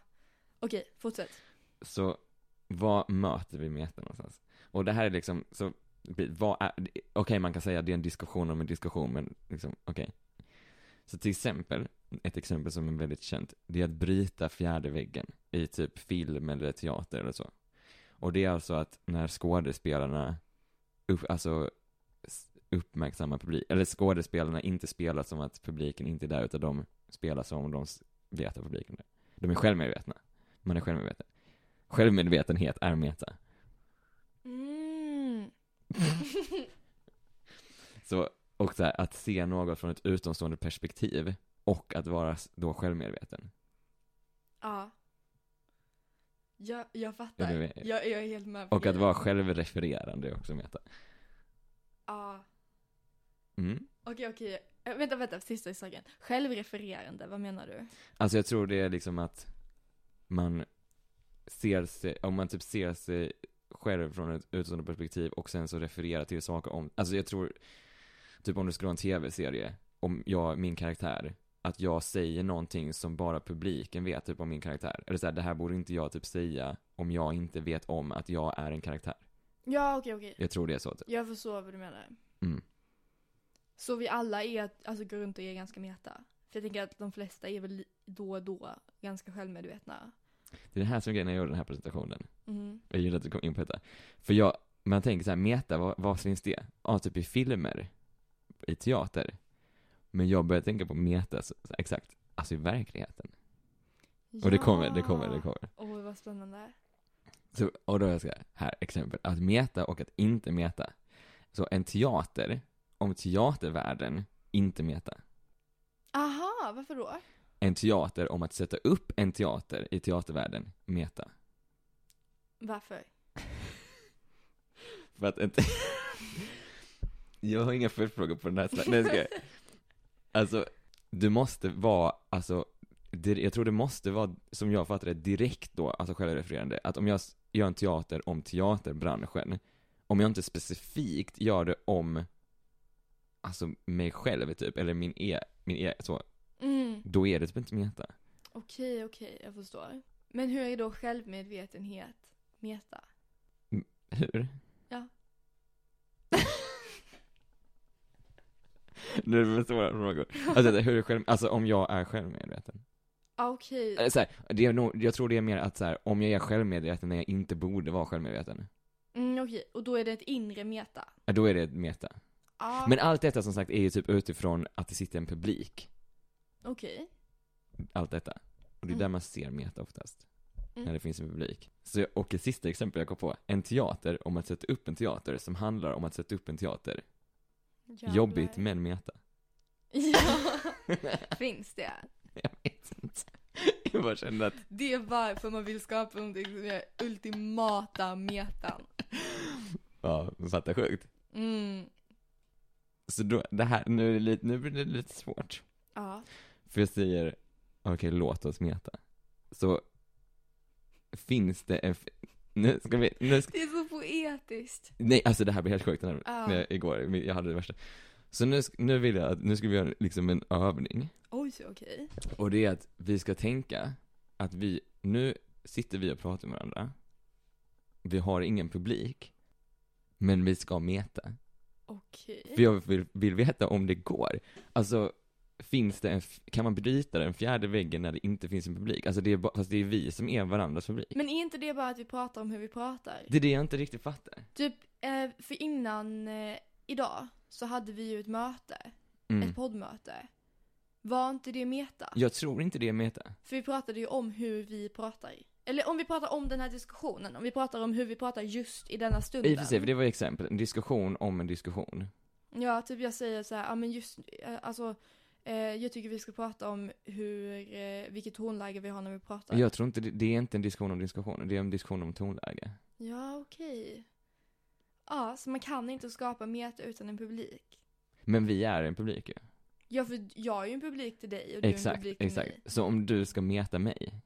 [SPEAKER 1] Okej, fortsätt.
[SPEAKER 2] Så, vad möter vi metan någonstans? Och det här är liksom, så, vad är, okej man kan säga att det är en diskussion om en diskussion, men liksom, okej. Så till exempel, ett exempel som är väldigt känt, det är att bryta fjärde väggen i typ film eller teater eller så. Och det är alltså att när skådespelarna upp, alltså, s- uppmärksamma publik, eller skådespelarna inte spelar som att publiken inte är där, utan de spelar som om de s- vet att publiken är där. De är självmedvetna. Man är självmedveten. Självmedvetenhet är meta.
[SPEAKER 1] Mm.
[SPEAKER 2] Så, och så här, att se något från ett utomstående perspektiv och att vara s- då självmedveten.
[SPEAKER 1] Ja. Jag, jag
[SPEAKER 2] Ja,
[SPEAKER 1] fattar.
[SPEAKER 2] du vet.
[SPEAKER 1] jag, jag är helt med på
[SPEAKER 2] Och att
[SPEAKER 1] grejen.
[SPEAKER 2] vara självrefererande är också meta.
[SPEAKER 1] Ja.
[SPEAKER 2] Mm.
[SPEAKER 1] Okej, okej. Eh, Vänta, vänta. Sista saken. Självrefererande, vad menar du?
[SPEAKER 2] Alltså jag tror det är liksom att man ser sig, om man typ ser sig själv från ett utomstående perspektiv och sen så refererar till saker om, alltså jag tror, typ om du skulle ha en tv-serie, om jag, min karaktär, att jag säger någonting som bara publiken vet typ om min karaktär. Eller så här, det här borde inte jag typ säga om jag inte vet om att jag är en karaktär.
[SPEAKER 1] Ja, okej, okej.
[SPEAKER 2] Jag tror det är så typ.
[SPEAKER 1] Jag förstår vad du menar.
[SPEAKER 2] Mm.
[SPEAKER 1] Så vi alla är, alltså går runt och är ganska meta. För jag tänker att de flesta är väl li- då och då ganska självmedvetna.
[SPEAKER 2] Det är det här som är grejen när jag gjorde den här presentationen.
[SPEAKER 1] Mm.
[SPEAKER 2] Jag gillar att du kom in på detta. För jag, man tänker så här, meta, vad, vad finns det? Ja, typ i filmer, i teater. Men jag börjar tänka på meta, så, så, exakt, alltså i verkligheten. Och det kommer, det kommer, det kommer.
[SPEAKER 1] Åh, vad spännande.
[SPEAKER 2] Så, och då är jag så här, här, exempel, att meta och att inte meta. Så en teater, om teatervärlden, inte meta.
[SPEAKER 1] Aha, varför då?
[SPEAKER 2] En teater om att sätta upp en teater i teatervärlden, meta.
[SPEAKER 1] Varför?
[SPEAKER 2] För att inte... jag har inga följdfrågor på den här slagen. Nej, jag skojar. Alltså, du måste vara, alltså, dir- jag tror det måste vara, som jag fattar det, direkt då, alltså självrefererande. Att om jag s- gör en teater om teaterbranschen, om jag inte specifikt gör det om, alltså mig själv typ, eller min e, min e, så,
[SPEAKER 1] Mm.
[SPEAKER 2] då är det typ inte meta.
[SPEAKER 1] Okej, okej, jag förstår. Men hur är då självmedvetenhet meta?
[SPEAKER 2] Hur?
[SPEAKER 1] Ja.
[SPEAKER 2] Nu är det för svåra frågor. Alltså, hur är själv, alltså om jag är självmedveten.
[SPEAKER 1] Ah, okej.
[SPEAKER 2] Eller Så här, det är nog, jag tror det är mer att så här, om jag är självmedveten när jag inte borde vara självmedveten,
[SPEAKER 1] Mm, okej, och då är det ett inre meta?
[SPEAKER 2] ja, då är det ett meta.
[SPEAKER 1] Ah,
[SPEAKER 2] Men allt detta som sagt är ju typ utifrån att det sitter en publik,
[SPEAKER 1] okej.
[SPEAKER 2] allt detta. Och det är
[SPEAKER 1] Mm.
[SPEAKER 2] där man ser meta oftast,
[SPEAKER 1] Mm.
[SPEAKER 2] när det finns en publik. Så, jag- och ett sista exempel jag kom på, en teater om att sätta upp en teater som handlar om att sätta upp en teater.
[SPEAKER 1] Jävlar.
[SPEAKER 2] Jobbigt men meta.
[SPEAKER 1] Ja, finns det?
[SPEAKER 2] jag vet inte. Jag bara kände att,
[SPEAKER 1] Det är varför man vill skapa någonting som är ultimata metan.
[SPEAKER 2] ja, fatta sjukt.
[SPEAKER 1] Mm.
[SPEAKER 2] Så då, det här, nu, är det lite, nu blir det lite svårt.
[SPEAKER 1] Ja.
[SPEAKER 2] För jag säger, okej låt oss meta. Så finns det en, f- nu ska vi, nu ska,
[SPEAKER 1] Det är så poetiskt.
[SPEAKER 2] nej alltså det här blir helt sjukt den här,
[SPEAKER 1] Ja.
[SPEAKER 2] när jag- igår, jag hade det värsta. Så nu, sk- nu vill jag, att- nu ska vi göra liksom en övning.
[SPEAKER 1] Oj, okej.
[SPEAKER 2] Och det är att vi ska tänka att vi, nu sitter vi och pratar med varandra. Vi har ingen publik. Men vi ska meta.
[SPEAKER 1] Okej.
[SPEAKER 2] För jag vill, vill veta om det går. Alltså, finns det en, f- kan man bryta den fjärde väggen när det inte finns en publik? Alltså det är, ba- fast det är vi som är varandras publik.
[SPEAKER 1] Men är inte det bara att vi pratar om hur vi pratar?
[SPEAKER 2] Det är det jag inte riktigt fattar.
[SPEAKER 1] Typ, eh, för innan eh, idag så hade vi ju ett möte,
[SPEAKER 2] Mm.
[SPEAKER 1] ett poddmöte. Var inte det meta?
[SPEAKER 2] Jag tror inte det är meta.
[SPEAKER 1] För vi pratade ju om hur vi pratar. Eller om vi pratar om den här diskussionen, om vi pratar om hur vi pratar just i denna stunden.
[SPEAKER 2] I och för sig, för det var ju exempel. En diskussion om en diskussion.
[SPEAKER 1] Ja, typ jag säger så här, ja men just, eh, alltså, eh, jag tycker vi ska prata om hur, eh, vilket tonläge vi har när vi pratar.
[SPEAKER 2] Jag tror inte, det, det är inte en diskussion om diskussion, det är en diskussion om tonläge.
[SPEAKER 1] Ja, okej. Ja, så man kan inte skapa meta utan en publik.
[SPEAKER 2] Men vi är en publik ju.
[SPEAKER 1] Ja, för jag är ju en publik till dig och du är en
[SPEAKER 2] Exakt,
[SPEAKER 1] publik till
[SPEAKER 2] exakt.
[SPEAKER 1] mig.
[SPEAKER 2] Så om du ska meta mig.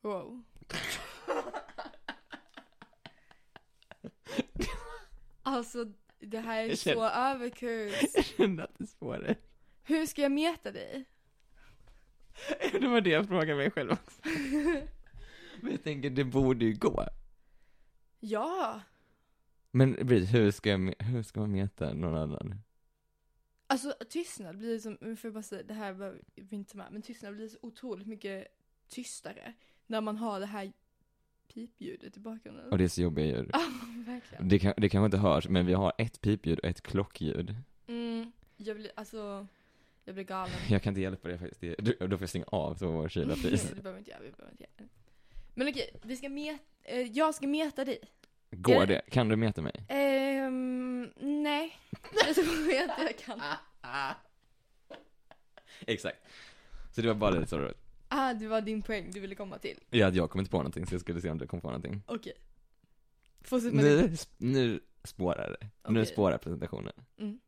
[SPEAKER 1] Wow. alltså, det här är
[SPEAKER 2] Jag
[SPEAKER 1] så
[SPEAKER 2] känner-
[SPEAKER 1] överkurs.
[SPEAKER 2] Jag kände att det är svårare.
[SPEAKER 1] Hur ska jag meta dig?
[SPEAKER 2] Det var det jag frågade mig själv också. Men jag tänker, det borde ju gå.
[SPEAKER 1] Ja,
[SPEAKER 2] Men Brit, hur ska, jag, me- hur ska man meta någon annan?
[SPEAKER 1] alltså tystnad blir som, nu får jag bara säga, det här var vi inte med, men tystnad blir så otroligt mycket tystare när man har det här pipljudet i bakgrunden.
[SPEAKER 2] Och det är så jobbiga ljud.
[SPEAKER 1] Ja, verkligen.
[SPEAKER 2] Det, kan, det kanske inte hörs, men vi har ett pipljud och ett klockljud.
[SPEAKER 1] Mm, jag blir, Mm, alltså, Jag blir galen.
[SPEAKER 2] Jag kan inte hjälpa det faktiskt. Det, du- då får jag stänga av så vår kyla fryser.
[SPEAKER 1] det behöver inte jag, vi behöver inte göra. Men okej, vi ska met- eh, jag ska meta dig.
[SPEAKER 2] Går
[SPEAKER 1] Är
[SPEAKER 2] det? Kan du meta mig?
[SPEAKER 1] Ehm, nej. Jag tror inte jag kan.
[SPEAKER 2] Ah. Exakt. Så det var bara lite så roligt.
[SPEAKER 1] Ah, det var din poäng du ville komma till.
[SPEAKER 2] Ja, jag kom inte på någonting så jag skulle se om du kom på någonting.
[SPEAKER 1] Okej. Fortsätt med
[SPEAKER 2] Nu, sp- nu spårar det. Nu
[SPEAKER 1] Okej.
[SPEAKER 2] spårar presentationen.
[SPEAKER 1] Mm.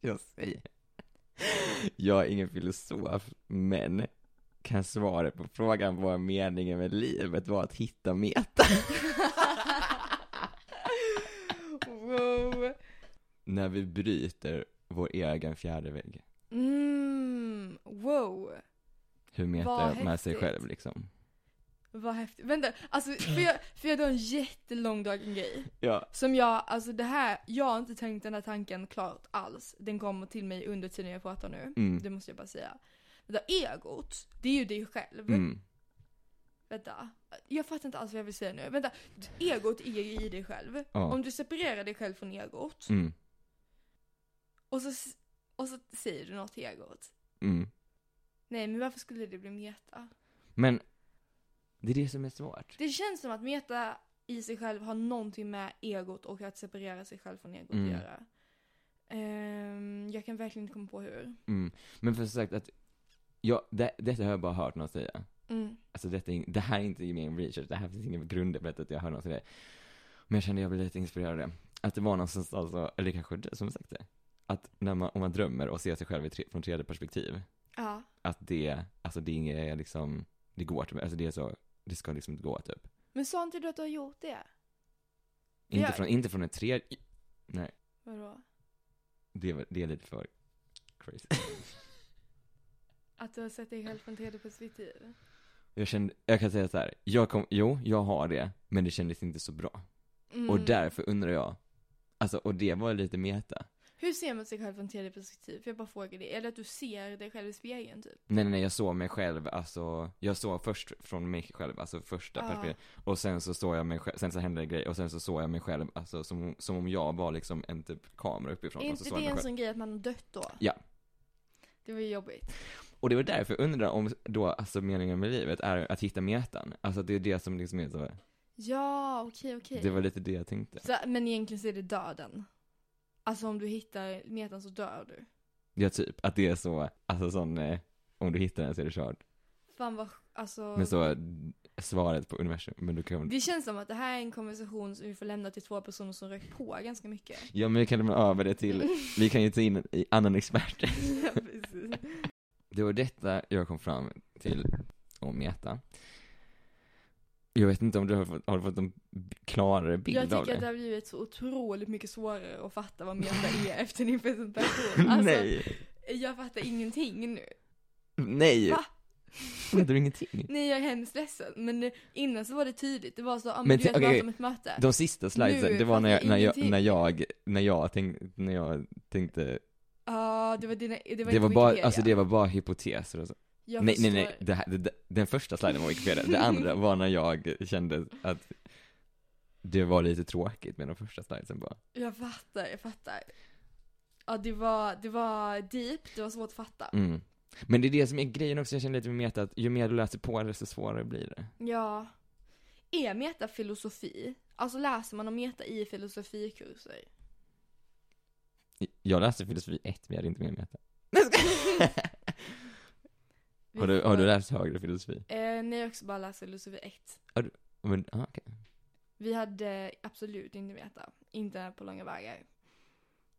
[SPEAKER 2] Jag säger. Jag är ingen filosof, men kan svara på frågan vad meningen med livet var att hitta meta.
[SPEAKER 1] wow.
[SPEAKER 2] När vi bryter vår egen fjärde vägg.
[SPEAKER 1] Mm, wow.
[SPEAKER 2] Hur metar
[SPEAKER 1] Vad
[SPEAKER 2] man med sig
[SPEAKER 1] häftigt.
[SPEAKER 2] själv liksom?
[SPEAKER 1] Vad häftigt. Vänta, alltså för jag, för jag drar en jättelång dagen grej.
[SPEAKER 2] Ja.
[SPEAKER 1] Som jag, alltså det här, jag har inte tänkt den här tanken klart alls. Den kommer till mig under tiden jag pratar nu.
[SPEAKER 2] Mm.
[SPEAKER 1] Det måste jag bara säga. Vänta, egot, det är ju dig själv.
[SPEAKER 2] Mm.
[SPEAKER 1] Vänta. Jag fattar inte alls vad jag vill säga nu. Vänta, egot är ju i dig själv.
[SPEAKER 2] Ja.
[SPEAKER 1] Om du separerar dig själv från egot
[SPEAKER 2] Mm.
[SPEAKER 1] och, så, s- och så säger du något till egot.
[SPEAKER 2] Mm.
[SPEAKER 1] Nej, men varför skulle det bli meta?
[SPEAKER 2] Men det är det som är svårt.
[SPEAKER 1] Det känns som att meta i sig själv har någonting med egot och att separera sig själv från egot
[SPEAKER 2] Mm.
[SPEAKER 1] att göra. Ehm, jag kan verkligen inte komma på hur.
[SPEAKER 2] Mm. Men för sagt att, ja, det, detta har jag bara hört någon säga.
[SPEAKER 1] Mm.
[SPEAKER 2] Alltså detta, är in- det här är inte min research, det här finns ingen grund för att jag hör någon säga det. Men jag kände jag blev lite inspirerad av det. Att det var någon som sa så, eller kanske du som sagt det. Att när man, om man drömmer och ser sig själv i tre, från tredje perspektiv,
[SPEAKER 1] Ja.
[SPEAKER 2] att det, alltså det är inget liksom, det går typ, alltså det är så, det ska liksom inte gå typ.
[SPEAKER 1] Men sa inte du att du har gjort det?
[SPEAKER 2] Inte,
[SPEAKER 1] Ja.
[SPEAKER 2] från, inte från en tredje,
[SPEAKER 1] Vadå?
[SPEAKER 2] det, är- det är lite för crazy.
[SPEAKER 1] Att du har sett dig själv från tredje perspektiv?
[SPEAKER 2] Jag kände, jag kan säga så här, jag kom, jo, jag har det, men det kändes inte så bra.
[SPEAKER 1] Mm.
[SPEAKER 2] Och därför undrar jag, alltså, och det var lite meta.
[SPEAKER 1] Hur ser man sig själv från tredje perspektiv? För jag bara frågar det. Är det att du ser dig själv i spegeln typ?
[SPEAKER 2] Nej, nej, nej, jag såg mig själv, alltså, jag såg först från mig själv, alltså första
[SPEAKER 1] Ja.
[SPEAKER 2] perspektivet. Och sen så såg jag mig själv, sen så hände det grejer, och sen så såg jag mig själv, alltså som, som om jag var liksom en typ kamera uppifrån.
[SPEAKER 1] är
[SPEAKER 2] och så
[SPEAKER 1] inte
[SPEAKER 2] såg
[SPEAKER 1] det
[SPEAKER 2] jag mig
[SPEAKER 1] en
[SPEAKER 2] själv.
[SPEAKER 1] sån grej att man har dött då?
[SPEAKER 2] Ja.
[SPEAKER 1] Det var ju jobbigt.
[SPEAKER 2] Och det var därför jag undrar om då, alltså meningen med livet är att hitta metan. Alltså det är det som liksom är så,
[SPEAKER 1] Ja, okej, okej.
[SPEAKER 2] det var lite det jag tänkte.
[SPEAKER 1] Så- Men egentligen så är det döden. Alltså om du hittar metan så dör du.
[SPEAKER 2] Ja, typ, att det är så, alltså sån, eh, om du hittar den så är det kört.
[SPEAKER 1] Fan vad, alltså.
[SPEAKER 2] Men så, svaret på universum, men du kan
[SPEAKER 1] Det känns som att det här är en konversation som vi får lämna till två personer som rökt på ganska mycket.
[SPEAKER 2] Ja men vi kan lämna över det till, vi kan ju ta in en i- annan expert.
[SPEAKER 1] ja, precis.
[SPEAKER 2] Det var detta jag kom fram till om Meta. Jag vet inte om du har fått, har du fått en klarare bild
[SPEAKER 1] Jag tycker
[SPEAKER 2] av det?
[SPEAKER 1] att det har blivit så otroligt mycket svårare att fatta vad meta är efter din presentation. Alltså,
[SPEAKER 2] Nej,
[SPEAKER 1] jag fattar ingenting nu.
[SPEAKER 2] nej!
[SPEAKER 1] Va?
[SPEAKER 2] Fattar du ingenting?
[SPEAKER 1] Nej, jag är hemskt ledsen. Men innan så var det tydligt. Det var så, ah, men
[SPEAKER 2] Men
[SPEAKER 1] du vet,
[SPEAKER 2] t- okej.
[SPEAKER 1] okay. om ett möte.
[SPEAKER 2] De sista slidesen,
[SPEAKER 1] Nu
[SPEAKER 2] det var när jag,
[SPEAKER 1] fattar jag
[SPEAKER 2] när jag,
[SPEAKER 1] ingenting.
[SPEAKER 2] när jag, när jag tänkte, när jag tänkte,
[SPEAKER 1] Ja, det var dina, det var
[SPEAKER 2] det var,
[SPEAKER 1] inte
[SPEAKER 2] bara,
[SPEAKER 1] Wikipedia.
[SPEAKER 2] alltså det var bara hypoteser och så.
[SPEAKER 1] Jag
[SPEAKER 2] Nej, nej,
[SPEAKER 1] förstår.
[SPEAKER 2] nej, det här, det, det- den första sliden var Wikipedia, det andra var när jag kände att det var lite tråkigt med den första sliden bara.
[SPEAKER 1] Jag fattar, jag fattar. Ja, det var, det var deep, det var svårt att fatta.
[SPEAKER 2] Mm. Men det är det som är grejen också, jag känner lite med Meta, att ju mer du läser på det, desto svårare blir det.
[SPEAKER 1] Ja. Är meta filosofi? Alltså läser man om meta i filosofikurser?
[SPEAKER 2] Jag läste filosofi 1, vi hade inte med Meta.
[SPEAKER 1] Vi
[SPEAKER 2] Har du,
[SPEAKER 1] får-
[SPEAKER 2] har du läst högre filosofi?
[SPEAKER 1] Eh, nej, jag har också bara läst filosofi 1.
[SPEAKER 2] Men, ah, okej.
[SPEAKER 1] Vi hade absolut inte meta, inte på långa vägar.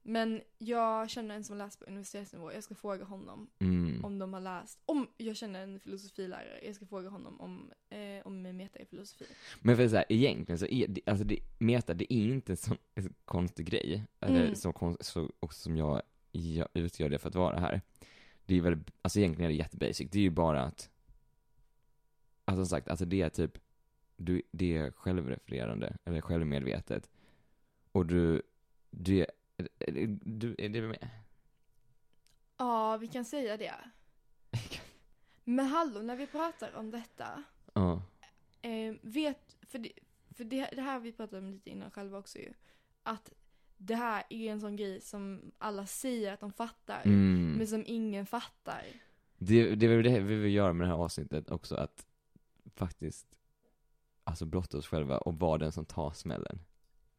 [SPEAKER 1] Men jag känner en som läser på universitetsnivå, jag ska fråga honom
[SPEAKER 2] mm.
[SPEAKER 1] om de har läst, om jag känner en filosofilärare, jag ska fråga honom om, eh, om meta i filosofi.
[SPEAKER 2] Men för så här, egentligen så är det, alltså det, Meta, det är inte en sån en sån konstig grej, eller
[SPEAKER 1] Mm.
[SPEAKER 2] så, kon- så och som jag, jag utgör det för att vara här. Det är väl, alltså egentligen är det jättebasic, det är ju bara att, alltså som sagt, alltså det är typ, du, det är självrefererande, eller självmedvetet. Och du, du, är- är- du, är det med?
[SPEAKER 1] Ja, vi kan säga det. Men hallå, när vi pratar om detta,
[SPEAKER 2] Ja.
[SPEAKER 1] eh, vet, för, det, för det, det här vi pratade om lite innan själva också ju, att det här är en sån grej som alla säger att de fattar.
[SPEAKER 2] Mm.
[SPEAKER 1] Men som ingen fattar.
[SPEAKER 2] Det, det är väl det vi vill göra med det här avsnittet också, att faktiskt alltså blotta oss själva och vara den som tar smällen.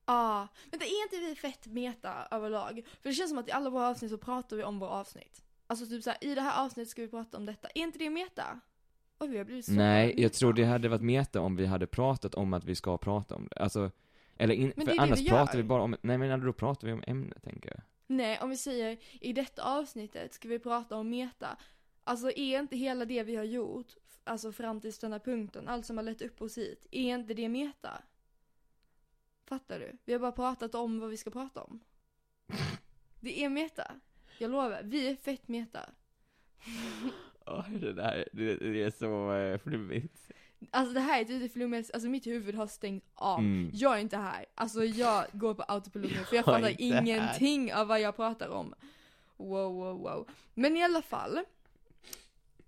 [SPEAKER 1] Ja, men det är inte vi fett meta överlag? För det känns som att i alla våra avsnitt så pratar vi om våra avsnitt. Alltså typ såhär, i det här avsnittet ska vi prata om detta. Är inte det meta? Oj, vi har blivit så
[SPEAKER 2] Nej,
[SPEAKER 1] meta.
[SPEAKER 2] jag tror det hade varit meta om vi hade pratat om att vi ska prata om det. Alltså, eller in,
[SPEAKER 1] Men det är
[SPEAKER 2] för
[SPEAKER 1] det
[SPEAKER 2] annars
[SPEAKER 1] vi
[SPEAKER 2] pratar
[SPEAKER 1] gör.
[SPEAKER 2] vi bara om, nej men då pratar vi om ämnet tänker jag.
[SPEAKER 1] Nej, om vi säger i detta avsnittet ska vi prata om meta. Alltså är inte hela det vi har gjort, f- alltså fram till denna punkten, allt som har lett upp oss hit, är inte det meta? Fattar du? Vi har bara pratat om vad vi ska prata om. Det är meta. Jag lovar, vi är fett meta.
[SPEAKER 2] Åh, det där, det, är så eh, flummigt.
[SPEAKER 1] Alltså det här är typ flummet, alltså mitt huvud har stängt av.
[SPEAKER 2] Mm.
[SPEAKER 1] Jag är inte här. Alltså jag går på autopilot nu för jag
[SPEAKER 2] Jag är
[SPEAKER 1] fattar
[SPEAKER 2] inte här.
[SPEAKER 1] ingenting av vad jag pratar om. Wow, wow, wow. Men i alla fall.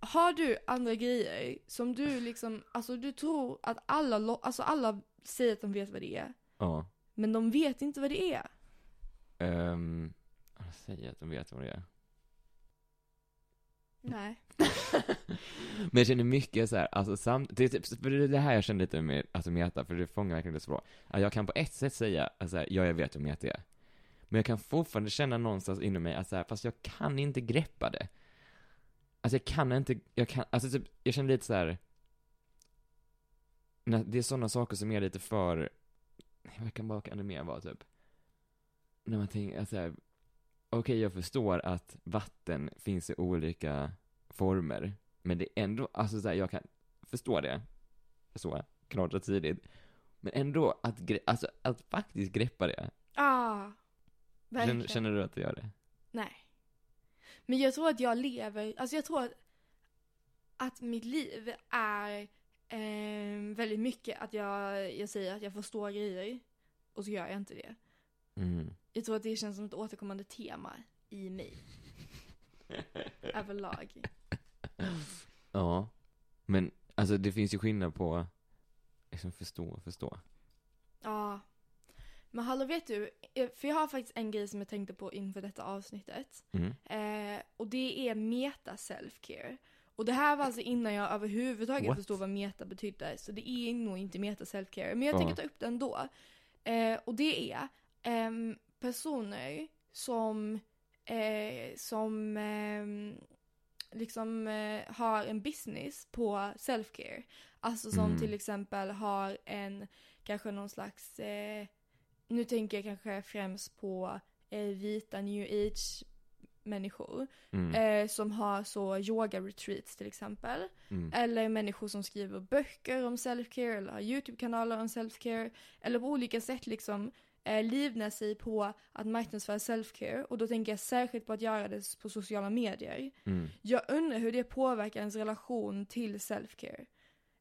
[SPEAKER 1] Har du andra grejer som du liksom, alltså du tror att alla, lo- alltså alla säger att de vet vad det är.
[SPEAKER 2] Ja.
[SPEAKER 1] Men de vet inte vad det är.
[SPEAKER 2] Um, jag säger att de vet vad det är.
[SPEAKER 1] Nej.
[SPEAKER 2] Men jag känner mycket så här, alltså samt, det, är typ- för det är det här jag känner lite med alltså meta, för det fångar verkligen det så bra. Att jag kan på ett sätt säga, alltså här, ja jag vet hur meta är. Men jag kan fortfarande känna någonstans inom mig att så här, fast jag kan inte greppa det. Alltså jag kan inte, jag kan, alltså typ, jag känner lite så här. när- Det är sådana saker som är lite för, vad kan, vad kan det mer vara typ? När man tänker, alltså här, okej jag förstår att vatten finns i olika former. Men det är ändå, alltså så här, jag kan förstå det. Så, klart och tidigt. Men ändå, att, gre- alltså, att faktiskt greppa det.
[SPEAKER 1] Ah. Verkligen.
[SPEAKER 2] Känner, känner du att du gör det?
[SPEAKER 1] Nej. Men jag tror att jag lever, alltså jag tror att, att mitt liv är ehm, väldigt mycket att jag, jag säger att jag förstår grejer och så gör jag inte det.
[SPEAKER 2] Mm.
[SPEAKER 1] Jag tror att det känns som ett återkommande tema i mig överlag.
[SPEAKER 2] ja. Men, alltså det finns ju skillnad på, liksom förstå och förstå.
[SPEAKER 1] Ja. Men hallå vet du, eh, för jag har faktiskt en grej som jag tänkte på inför detta avsnittet.
[SPEAKER 2] Mm.
[SPEAKER 1] Eh, och det är meta self-care. Och det här var alltså innan jag överhuvudtaget
[SPEAKER 2] What?
[SPEAKER 1] förstod vad meta betydde. Så det är nog inte meta self-care. Men jag
[SPEAKER 2] Ja.
[SPEAKER 1] tänker ta upp det ändå. Eh, och det är ehm, personer som, eh, som ehm, liksom eh, har en business på self-care. Alltså som
[SPEAKER 2] Mm.
[SPEAKER 1] till exempel har en, kanske någon slags, eh, nu tänker jag kanske främst på eh, vita new age människor
[SPEAKER 2] Mm.
[SPEAKER 1] eh, som har så yoga retreats till exempel.
[SPEAKER 2] Mm.
[SPEAKER 1] Eller människor som skriver böcker om self-care eller har YouTube-kanaler om self-care. Eller på olika sätt liksom eh, livnär sig på att marknadsföra self-care. Och då tänker jag särskilt på att göra det på sociala medier.
[SPEAKER 2] Mm.
[SPEAKER 1] Jag undrar hur det påverkar ens relation till self-care.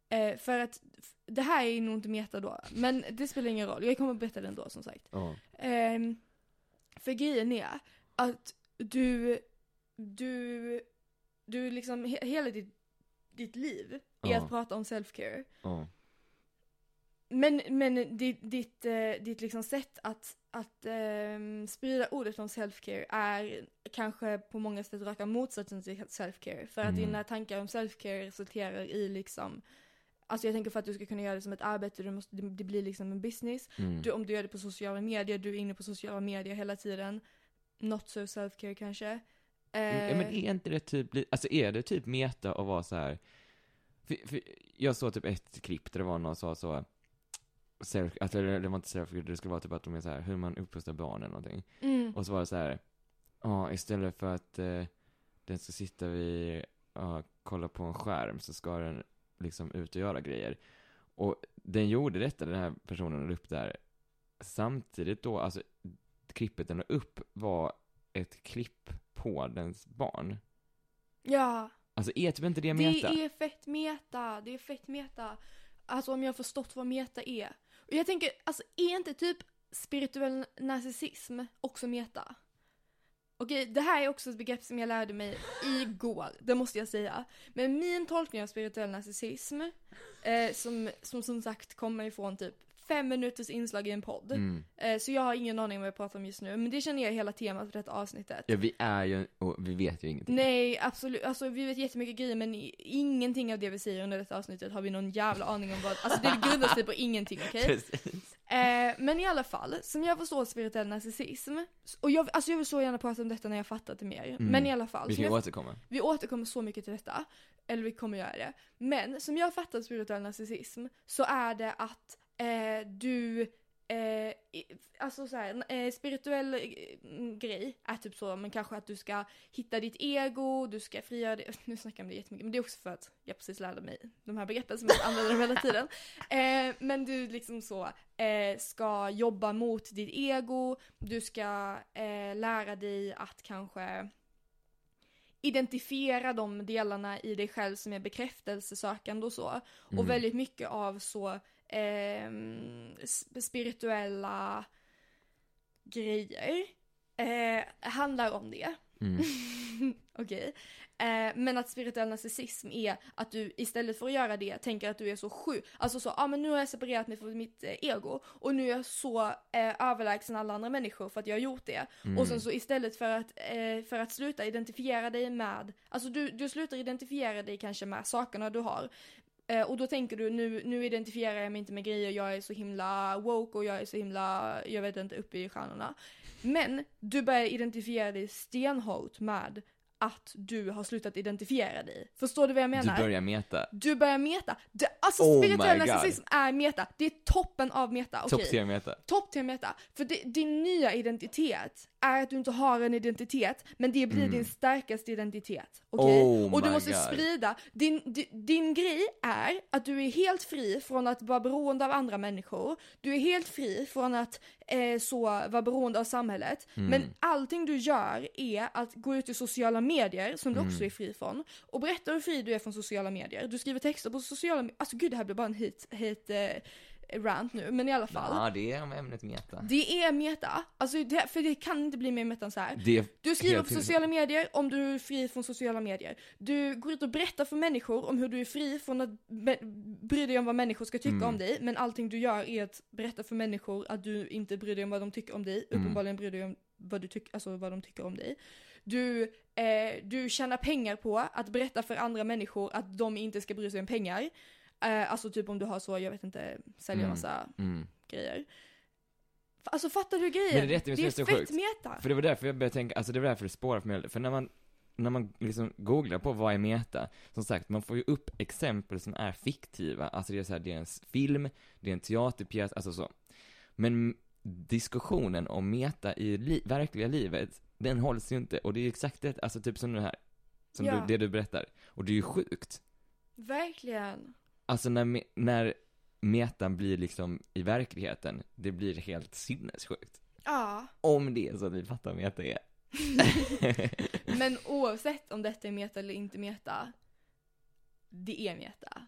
[SPEAKER 1] Eh, för att f- det här är nog inte meta då, men det spelar ingen roll. Jag kommer att berätta det ändå som sagt.
[SPEAKER 2] Ja.
[SPEAKER 1] Ehm, för grejen är att du, du, du liksom he- hela ditt, ditt liv är
[SPEAKER 2] Ja.
[SPEAKER 1] att prata om self-care.
[SPEAKER 2] Ja.
[SPEAKER 1] Men, men ditt, ditt, eh, ditt liksom sätt att, att ehm, sprida ordet om self-care är kanske på många sätt raka motsatsen till self-care. För att
[SPEAKER 2] Mm.
[SPEAKER 1] dina tankar om self-care resulterar i liksom, alltså jag tänker för att du ska kunna göra det som ett arbete, du måste, det det blir liksom en business.
[SPEAKER 2] Mm.
[SPEAKER 1] Du, om du gör det på sociala medier, du är inne på sociala medier hela tiden. Not so self-care kanske.
[SPEAKER 2] Mm, ja,
[SPEAKER 1] Eh,
[SPEAKER 2] men är inte det typ, li- alltså är det typ meta att vara så här? För, för jag såg typ ett klipp där det var någon som sa så, self, alltså det det var inte self det skulle vara typ att de är så här, hur man uppfostrar barn eller någonting.
[SPEAKER 1] mm,
[SPEAKER 2] Och så var det så här, ja istället för att eh, den ska sitta vid, ja, kolla på en skärm så ska den liksom ut och göra grejer. Och den gjorde detta, den här personen la upp där. Samtidigt då, alltså klippet den la upp var ett klipp på dens barn.
[SPEAKER 1] ja,
[SPEAKER 2] Alltså är typ inte det
[SPEAKER 1] det
[SPEAKER 2] meta?
[SPEAKER 1] är fett meta. Det är fett meta. Alltså om jag har förstått vad meta är. Och jag tänker, alltså är inte typ spirituell narcissism också meta? Okej, det här är också ett begrepp som jag lärde mig igår, det måste jag säga. Men min tolkning av spirituell narcissism, eh, som, som som sagt kommer ifrån typ fem minuters inslag i en podd.
[SPEAKER 2] Mm.
[SPEAKER 1] Eh, så jag har ingen aning om vad jag pratar om just nu. Men det känner jag är hela temat för detta avsnittet.
[SPEAKER 2] Ja, vi är ju, och vi vet ju ingenting.
[SPEAKER 1] Nej, absolut. Alltså vi vet jättemycket grejer men i- ingenting av det vi säger under detta avsnittet har vi någon jävla aning om vad, alltså det grundar sig på ingenting, okej?
[SPEAKER 2] Precis.
[SPEAKER 1] Eh, men i alla fall, som jag förstår spirituell narcissism, och jag, alltså jag vill så gärna prata om detta när jag fattat det mer, men i alla fall.
[SPEAKER 2] Mm. Vi
[SPEAKER 1] som
[SPEAKER 2] kan
[SPEAKER 1] Alltså, jag,
[SPEAKER 2] återkomma.
[SPEAKER 1] vi återkommer så mycket till detta, eller vi kommer göra det. Men som jag fattar spirituell narcissism så är det att eh, du, eh, i- alltså så här, eh, spirituell eh, mm, grej är typ så, men kanske att du ska hitta ditt ego, du ska frigöra dig, nu snackar jag om det jättemycket, men det är också för att jag precis lärde mig de här begreppen som jag använder dem hela tiden. Eh, men du liksom så, eh, ska jobba mot ditt ego, du ska eh, lära dig att kanske identifiera de delarna i dig själv som är bekräftelsesökande och så.
[SPEAKER 2] Mm.
[SPEAKER 1] Och väldigt mycket av så ehm, sp- spirituella grejer eh, handlar om det.
[SPEAKER 2] Mm.
[SPEAKER 1] Okej. Eh, men att spirituell narcissism är att du istället för att göra det tänker att du är så sjuk. Alltså så, ja ah, men nu har jag separerat mig från mitt eh, ego och nu är jag så eh, överlägsen alla andra människor för att jag har gjort det.
[SPEAKER 2] Mm.
[SPEAKER 1] Och sen så istället för att, eh, för att sluta identifiera dig med, alltså du, du slutar identifiera dig kanske med sakerna du har. Eh, och då tänker du nu, nu identifierar jag mig inte med grejer, jag är så himla woke och jag är så himla, jag vet inte, uppe i stjärnorna. Men du börjar identifiera dig stenhårt med att du har slutat identifiera dig. Förstår du vad jag
[SPEAKER 2] Du
[SPEAKER 1] menar?
[SPEAKER 2] börjar meta.
[SPEAKER 1] Du börjar meta. Det, alltså
[SPEAKER 2] Oh my
[SPEAKER 1] spirituell
[SPEAKER 2] God.
[SPEAKER 1] narcissism är meta. Det är toppen av meta.
[SPEAKER 2] Topp
[SPEAKER 1] okej?
[SPEAKER 2] 3 meta.
[SPEAKER 1] Topp till meta. För det, din nya identitet är att du inte har en identitet, men det blir din starkaste identitet. Okej?
[SPEAKER 2] Mm. Oh
[SPEAKER 1] och du
[SPEAKER 2] my
[SPEAKER 1] måste
[SPEAKER 2] God.
[SPEAKER 1] sprida. Din, di- din grej är att du är helt fri från att vara beroende av andra människor. Du är helt fri från att eh, så, vara beroende av samhället.
[SPEAKER 2] Mm.
[SPEAKER 1] Men allting du gör är att gå ut i sociala medier, som du också
[SPEAKER 2] Mm.
[SPEAKER 1] är fri från, och berätta hur fri du är från sociala medier. Du skriver texter på sociala medier. Alltså gud, det här blir bara en hit, hit eh, rant nu, men i alla fall.
[SPEAKER 2] Ja, det är om ämnet meta.
[SPEAKER 1] Det är meta. Alltså det, för det kan inte bli mer meta än så här.
[SPEAKER 2] Det är
[SPEAKER 1] Du skriver
[SPEAKER 2] helt
[SPEAKER 1] på
[SPEAKER 2] in-
[SPEAKER 1] sociala medier om du är fri från sociala medier. Du går ut och berättar för människor om hur du är fri från att be- bry dig om vad människor ska tycka
[SPEAKER 2] Mm.
[SPEAKER 1] om dig. Men allting du gör är att berätta för människor att du inte bryr dig om vad de tycker om dig.
[SPEAKER 2] Mm.
[SPEAKER 1] Uppenbarligen bryr du dig om vad, du tyck- alltså vad de tycker om dig. Du, eh, du tjänar pengar på att berätta för andra människor att de inte ska bry sig om pengar. Eh, alltså typ om du har så, jag vet inte, säljer
[SPEAKER 2] Mm.
[SPEAKER 1] massa
[SPEAKER 2] Mm.
[SPEAKER 1] grejer. F- Alltså fattar du grejen?
[SPEAKER 2] Men det är rätt, men
[SPEAKER 1] det är
[SPEAKER 2] det är så
[SPEAKER 1] fett
[SPEAKER 2] sjukt.
[SPEAKER 1] meta.
[SPEAKER 2] För det var därför jag började tänka, alltså det var därför det spårar för mig. För när man, när man liksom googlar på vad är meta, som sagt, man får ju upp exempel som är fiktiva. Alltså det är så här, det är en s- film, det är en teaterpjäs, alltså så. Men m- diskussionen om meta i li- verkliga livet, den hålls ju inte. Och det är ju exakt det, alltså typ som det här, som
[SPEAKER 1] Ja.
[SPEAKER 2] du, det du berättar. Och det är ju sjukt.
[SPEAKER 1] Verkligen.
[SPEAKER 2] Alltså när, me- när metan blir liksom i verkligheten, det blir helt sinnessjukt.
[SPEAKER 1] Ja.
[SPEAKER 2] Om det är så att vi fattar vad meta är.
[SPEAKER 1] Men oavsett om detta är meta eller inte meta. Det är meta.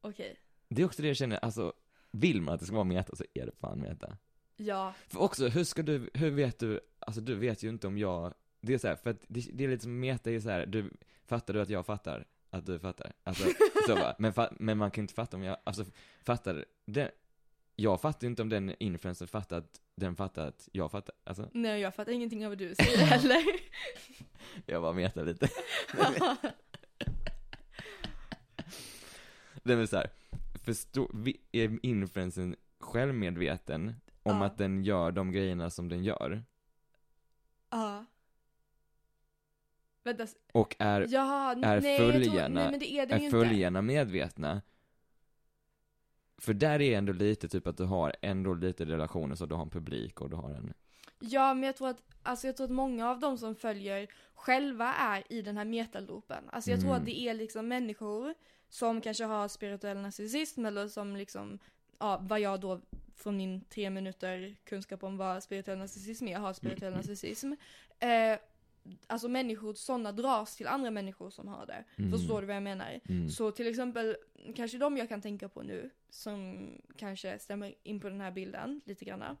[SPEAKER 1] Okej.
[SPEAKER 2] Det är också det jag känner, alltså vill man att det ska vara meta så är det fan meta.
[SPEAKER 1] Ja.
[SPEAKER 2] För också, hur ska du, hur vet du, alltså du vet ju inte om jag, det är så här, för att det, det är lite som meta är så här, du, fattar du att jag fattar? Att du fattar? Alltså, så va? Men, fa- men man kan ju inte fatta om jag, alltså fattar, den, jag fattar ju inte om den influensen fattar att den fattar att jag fattar, alltså
[SPEAKER 1] Nej jag fattar ingenting av vad du säger heller.
[SPEAKER 2] jag bara metar lite. Den är så här, förstå, vi- är influensen självmedveten om
[SPEAKER 1] Ja.
[SPEAKER 2] att den gör de grejerna som den gör?
[SPEAKER 1] ja. Vänta. s-
[SPEAKER 2] Och är,
[SPEAKER 1] Ja, n-
[SPEAKER 2] är
[SPEAKER 1] nej, jag tror-
[SPEAKER 2] följarna-
[SPEAKER 1] nej men det är den ju
[SPEAKER 2] är
[SPEAKER 1] inte.
[SPEAKER 2] följarna medvetna? För där är ändå lite typ att du har ändå lite relationer så du har en publik och du har en...
[SPEAKER 1] Ja men jag tror att, alltså jag tror att många av de som följer själva är i den här metaloopen. Alltså jag tror
[SPEAKER 2] Mm.
[SPEAKER 1] att det är liksom människor som kanske har spirituell narcissism eller som liksom, ja vad jag då från min tre minuter kunskap om vad spirituell narcissism är, har spirituell
[SPEAKER 2] Mm.
[SPEAKER 1] narcissism. Eh, alltså människor, sådana dras till andra människor som har det.
[SPEAKER 2] Mm.
[SPEAKER 1] Förstår du vad jag menar?
[SPEAKER 2] Mm.
[SPEAKER 1] Så till exempel, kanske de jag kan tänka på nu, som kanske stämmer in på den här bilden lite grann.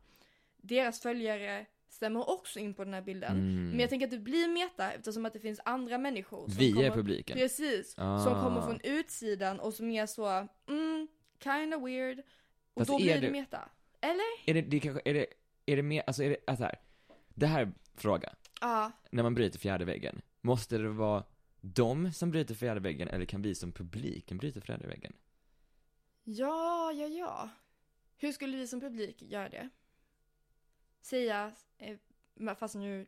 [SPEAKER 1] Deras följare stämmer också in på den här bilden.
[SPEAKER 2] Mm.
[SPEAKER 1] Men jag tänker att det blir meta eftersom att det finns andra människor som
[SPEAKER 2] Vi är
[SPEAKER 1] kommer,
[SPEAKER 2] publiken.
[SPEAKER 1] precis,
[SPEAKER 2] Ah.
[SPEAKER 1] som kommer från utsidan och som är så, mm, kinda weird. Och
[SPEAKER 2] Fast
[SPEAKER 1] då
[SPEAKER 2] är
[SPEAKER 1] blir det
[SPEAKER 2] det-
[SPEAKER 1] meta. Eller?
[SPEAKER 2] Ah. Är det, det kanske, är det, är det mer, alltså är det, alltså här, det här är en fråga.
[SPEAKER 1] Ja.
[SPEAKER 2] När man bryter fjärde väggen, måste det vara de som bryter fjärde väggen eller kan vi som publiken bryta fjärde väggen?
[SPEAKER 1] Ja, ja, ja. Hur skulle vi som publik göra det? Säga, eh, men fast nu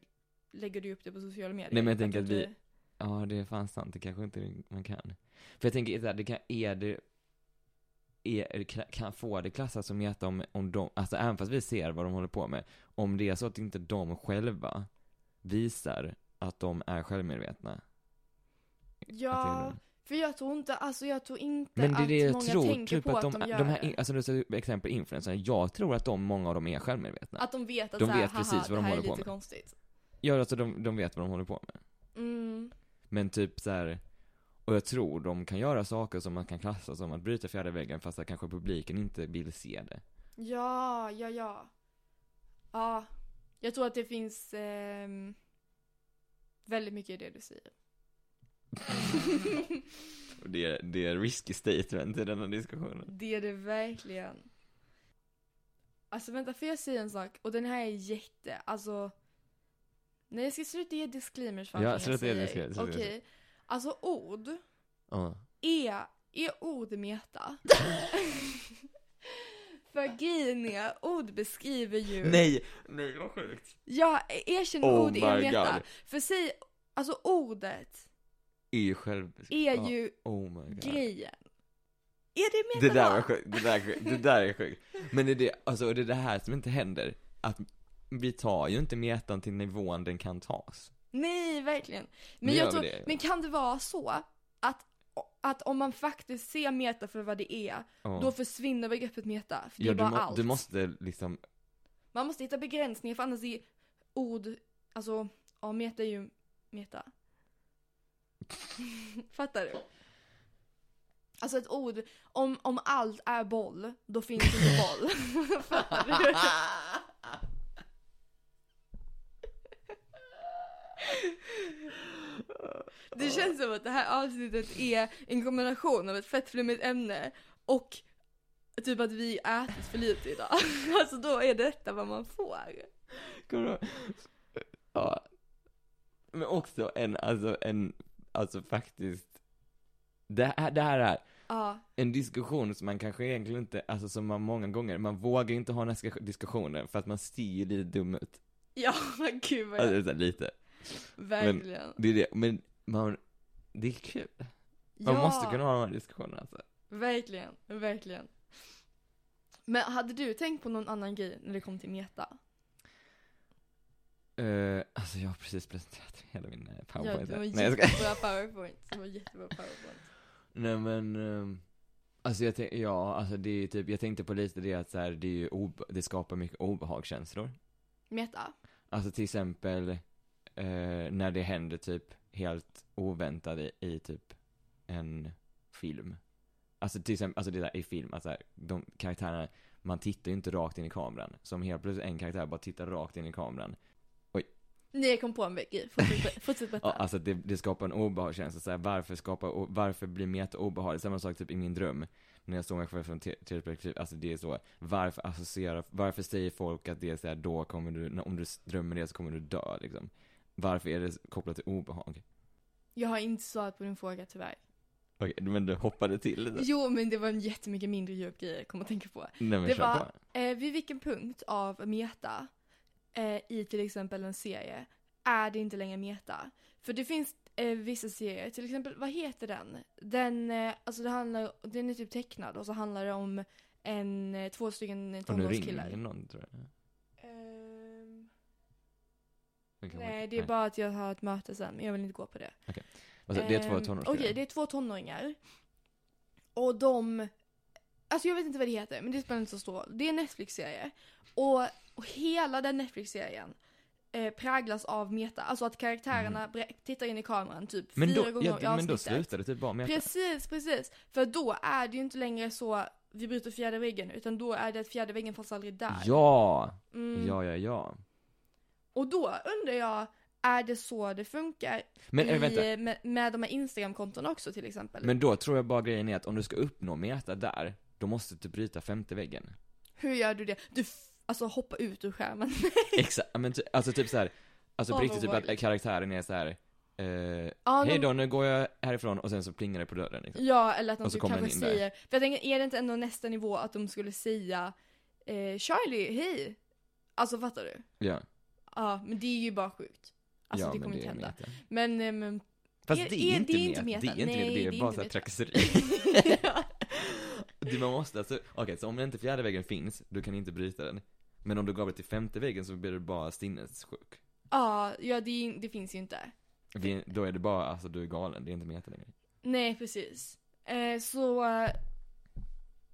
[SPEAKER 1] lägger du upp det på sociala medier.
[SPEAKER 2] Nej, men jag
[SPEAKER 1] För
[SPEAKER 2] tänker att vi-
[SPEAKER 1] inte-
[SPEAKER 2] Ja, det är fan sant, det kanske inte man kan. För jag tänker såhär, det kan, är det, är, är det- kan- kan få det klassas som meta om, om de, alltså även fast vi ser vad de håller på med, om det är så att inte de själva visar att de är självmedvetna. Att det är
[SPEAKER 1] Ja,
[SPEAKER 2] det.
[SPEAKER 1] för jag tror inte, alltså jag tror inte
[SPEAKER 2] Men det är
[SPEAKER 1] att
[SPEAKER 2] det jag
[SPEAKER 1] många
[SPEAKER 2] tror,
[SPEAKER 1] tänker
[SPEAKER 2] typ
[SPEAKER 1] på
[SPEAKER 2] att de, de,
[SPEAKER 1] gör
[SPEAKER 2] här, in-
[SPEAKER 1] det.
[SPEAKER 2] alltså nu till exempel influencers, jag tror att de, många av dem är självmedvetna.
[SPEAKER 1] Att de vet att
[SPEAKER 2] De
[SPEAKER 1] så här,
[SPEAKER 2] vet
[SPEAKER 1] haha,
[SPEAKER 2] precis vad
[SPEAKER 1] det
[SPEAKER 2] de
[SPEAKER 1] här är
[SPEAKER 2] håller på
[SPEAKER 1] lite
[SPEAKER 2] med.
[SPEAKER 1] konstigt.
[SPEAKER 2] Ja, alltså de, de vet vad de håller på med.
[SPEAKER 1] Mm.
[SPEAKER 2] Men typ så här. Och jag tror de kan göra saker som man kan klassa som att bryta fjärde väggen fast att kanske publiken inte vill se det.
[SPEAKER 1] Ja, ja, ja. Ja, jag tror att det finns ehm, väldigt mycket i det du säger.
[SPEAKER 2] Och det, är- det är risky statement i denna diskussionen.
[SPEAKER 1] Det är det verkligen. Alltså vänta, får jag säga en sak? Och den här är jätte, alltså. Nej, jag ska sluta ge disclaimers för
[SPEAKER 2] Ja,
[SPEAKER 1] allting jag
[SPEAKER 2] sluta
[SPEAKER 1] säger.
[SPEAKER 2] ge disclaimers, sluta ge
[SPEAKER 1] Okej. Alltså ord.
[SPEAKER 2] Ja.
[SPEAKER 1] är, är ord meta? För grejen är, ord beskriver ju...
[SPEAKER 2] Nej! Nej vad sjukt.
[SPEAKER 1] Ja, erkänn
[SPEAKER 2] Oh
[SPEAKER 1] ord är
[SPEAKER 2] my
[SPEAKER 1] meta.
[SPEAKER 2] God.
[SPEAKER 1] För säg, alltså ordet
[SPEAKER 2] Är själv...
[SPEAKER 1] är
[SPEAKER 2] Ja,
[SPEAKER 1] ju
[SPEAKER 2] Oh my god.
[SPEAKER 1] grejen. Är det
[SPEAKER 2] Det
[SPEAKER 1] meta
[SPEAKER 2] där
[SPEAKER 1] då?
[SPEAKER 2] var sjukt, det där, är sjukt, det där är sjukt. Men det är det, alltså det är det här som inte händer. Att vi tar ju inte metan till nivån den kan tas.
[SPEAKER 1] Nej, verkligen.
[SPEAKER 2] Nu
[SPEAKER 1] Men,
[SPEAKER 2] gör
[SPEAKER 1] jag
[SPEAKER 2] vi
[SPEAKER 1] tror,
[SPEAKER 2] det.
[SPEAKER 1] men kan det vara så att, att om man faktiskt ser meta för vad det är,
[SPEAKER 2] Ja.
[SPEAKER 1] då försvinner begreppet meta? För det
[SPEAKER 2] ja,
[SPEAKER 1] är
[SPEAKER 2] du,
[SPEAKER 1] bara
[SPEAKER 2] må,
[SPEAKER 1] allt.
[SPEAKER 2] du måste liksom,
[SPEAKER 1] Man måste hitta begränsningar för annars är ord, alltså, ja meta är ju meta. Fattar du? Alltså ett ord, om, om allt är boll, då finns inte boll. Fattar du? Det känns som att det här avsnittet är en kombination av ett fett flummigt ämne och typ att vi ätit för lite idag. Alltså då är detta vad man får.
[SPEAKER 2] kommer du- ja. Men också en, alltså en, alltså faktiskt, det här, det här är
[SPEAKER 1] Ja,
[SPEAKER 2] en diskussion som man kanske egentligen inte, alltså som man många gånger, man vågar inte ha den här ska- diskussionen för att man ser ju lite dum ut.
[SPEAKER 1] ja gud vad jag,
[SPEAKER 2] Alltså så här, lite.
[SPEAKER 1] verkligen.
[SPEAKER 2] Det är det, men man, det är kul. Man
[SPEAKER 1] ja,
[SPEAKER 2] måste kunna ha de här diskussionerna alltså.
[SPEAKER 1] Verkligen, verkligen. Men hade du tänkt på någon annan grej när det kom till meta?
[SPEAKER 2] Eh, alltså jag har precis presenterat hela min eh,
[SPEAKER 1] Ja,
[SPEAKER 2] powerpoint.
[SPEAKER 1] det var
[SPEAKER 2] här.
[SPEAKER 1] en
[SPEAKER 2] Nej, jag ska...
[SPEAKER 1] jättebra powerpoint. Det var en jättebra powerpoint.
[SPEAKER 2] Nej men, ehm, alltså jag tänkte, ja alltså det är ju typ, jag tänkte på lite det att så här, det är ju obe- det skapar mycket obehagskänslor.
[SPEAKER 1] Meta?
[SPEAKER 2] Alltså till exempel eh, när det händer typ helt oväntat i, i typ en film. Alltså till exempel, alltså det där i film, att så här, de karaktärerna, man tittar ju inte rakt in i kameran. Som helt plötsligt en karaktär bara tittar rakt in i kameran.
[SPEAKER 1] Nej, jag kom på en grej. Fortsätt ber- Fortsätt
[SPEAKER 2] Ja,
[SPEAKER 1] berätta.
[SPEAKER 2] alltså det, det skapar en obehagskänsla, såhär, varför, skapar, o- varför blir meta obehagligt? Samma sak typ i min dröm, när jag såg mig själv från te- tredje perspektiv, alltså det är så, varför associerar, varför säger folk att det är såhär, då kommer du, när- om du s- drömmer det så kommer du dö liksom. Varför är det kopplat till obehag?
[SPEAKER 1] Jag har inte svarat på din fråga tyvärr.
[SPEAKER 2] Okej, men du hoppade till lite.
[SPEAKER 1] Jo, men det var en jättemycket mindre djup grej jag kom att tänka på.
[SPEAKER 2] Nej men
[SPEAKER 1] det
[SPEAKER 2] kör
[SPEAKER 1] var-
[SPEAKER 2] på.
[SPEAKER 1] Eh, vid vilken punkt av meta eh, i till exempel en serie är det inte längre meta? För det finns eh, vissa serier, till exempel, vad heter den? Den, eh, alltså det handlar, den är typ tecknad och så handlar det om en, eh, två stycken
[SPEAKER 2] Och nu ringer det
[SPEAKER 1] tonårskillar.
[SPEAKER 2] någon tror jag.
[SPEAKER 3] Ehm,
[SPEAKER 2] Det kan vara-
[SPEAKER 1] Nej, det är bara att jag har ett möte sen, men jag vill inte gå på det.
[SPEAKER 2] Alltså, det är två
[SPEAKER 1] Ehm,
[SPEAKER 2] tonårskillar.
[SPEAKER 1] Okej, det är två tonåringar. Och de... Alltså jag vet inte vad det heter, men det spelar inte så stor roll. Det är en Netflix-serie. Och, och hela den Netflix-serien eh, präglas av meta. Alltså att karaktärerna bre- tittar in i kameran typ
[SPEAKER 2] Mm. men
[SPEAKER 1] fyra
[SPEAKER 2] då,
[SPEAKER 1] gånger i
[SPEAKER 2] ja, men då
[SPEAKER 1] avsnittet.
[SPEAKER 2] slutar det typ bara med
[SPEAKER 1] Precis, precis. För då är det ju inte längre så vi bryter fjärde väggen, utan då är det att fjärde väggen fanns aldrig där.
[SPEAKER 2] Ja!
[SPEAKER 1] Mm.
[SPEAKER 2] Ja, ja, ja.
[SPEAKER 1] Och då undrar jag, är det så det funkar
[SPEAKER 2] Men äh,
[SPEAKER 1] i,
[SPEAKER 2] vänta,
[SPEAKER 1] med, med de här Instagram-kontona också till exempel?
[SPEAKER 2] Men då tror jag bara grejen är att om du ska uppnå meta där, de måste typ bryta femte väggen.
[SPEAKER 1] Hur gör du det? Du f- alltså hoppa ut ur skärmen.
[SPEAKER 2] Exakt, men ty, alltså typ så här, alltså på
[SPEAKER 1] Åh,
[SPEAKER 2] riktigt typ
[SPEAKER 1] vad
[SPEAKER 2] att
[SPEAKER 1] obehagligt.
[SPEAKER 2] karaktären är så här. Eh,
[SPEAKER 1] Oh Ja, de-
[SPEAKER 2] Hej då, nu går jag härifrån och sen så plingar det på dörren. Liksom.
[SPEAKER 1] Ja, eller att de
[SPEAKER 2] Och så
[SPEAKER 1] typ
[SPEAKER 2] kommer
[SPEAKER 1] kanske
[SPEAKER 2] den in
[SPEAKER 1] säger, för jag tänker, är det inte ändå nästa nivå att de skulle säga eh, Charlie, hej! Alltså fattar du?
[SPEAKER 2] Ja,
[SPEAKER 1] Ja, men det är ju bara sjukt. Alltså
[SPEAKER 2] ja,
[SPEAKER 1] det
[SPEAKER 2] men
[SPEAKER 1] kommer inte
[SPEAKER 2] är
[SPEAKER 1] hända.
[SPEAKER 2] meta.
[SPEAKER 1] Men, eh, men
[SPEAKER 2] Fast
[SPEAKER 1] Är-
[SPEAKER 2] det
[SPEAKER 1] är-
[SPEAKER 2] är inte
[SPEAKER 1] det är inte
[SPEAKER 2] meta, det
[SPEAKER 1] meta.
[SPEAKER 2] är inte meta,
[SPEAKER 1] Nej,
[SPEAKER 2] det
[SPEAKER 1] det
[SPEAKER 2] är
[SPEAKER 1] är
[SPEAKER 2] bara
[SPEAKER 1] inte
[SPEAKER 2] så här
[SPEAKER 1] meta.
[SPEAKER 2] trakasseri.
[SPEAKER 1] ja.
[SPEAKER 2] Du, man måste alltså, okej så om inte fjärde väggen finns, då kan du inte bryta den. Men om du gav det till femte väggen så blir du bara sinnessjuk.
[SPEAKER 1] ja, ja det, är- det finns ju inte.
[SPEAKER 2] Det, då är det bara, alltså du är galen, det är inte meta längre.
[SPEAKER 1] Nej, precis. Eh, så, eh,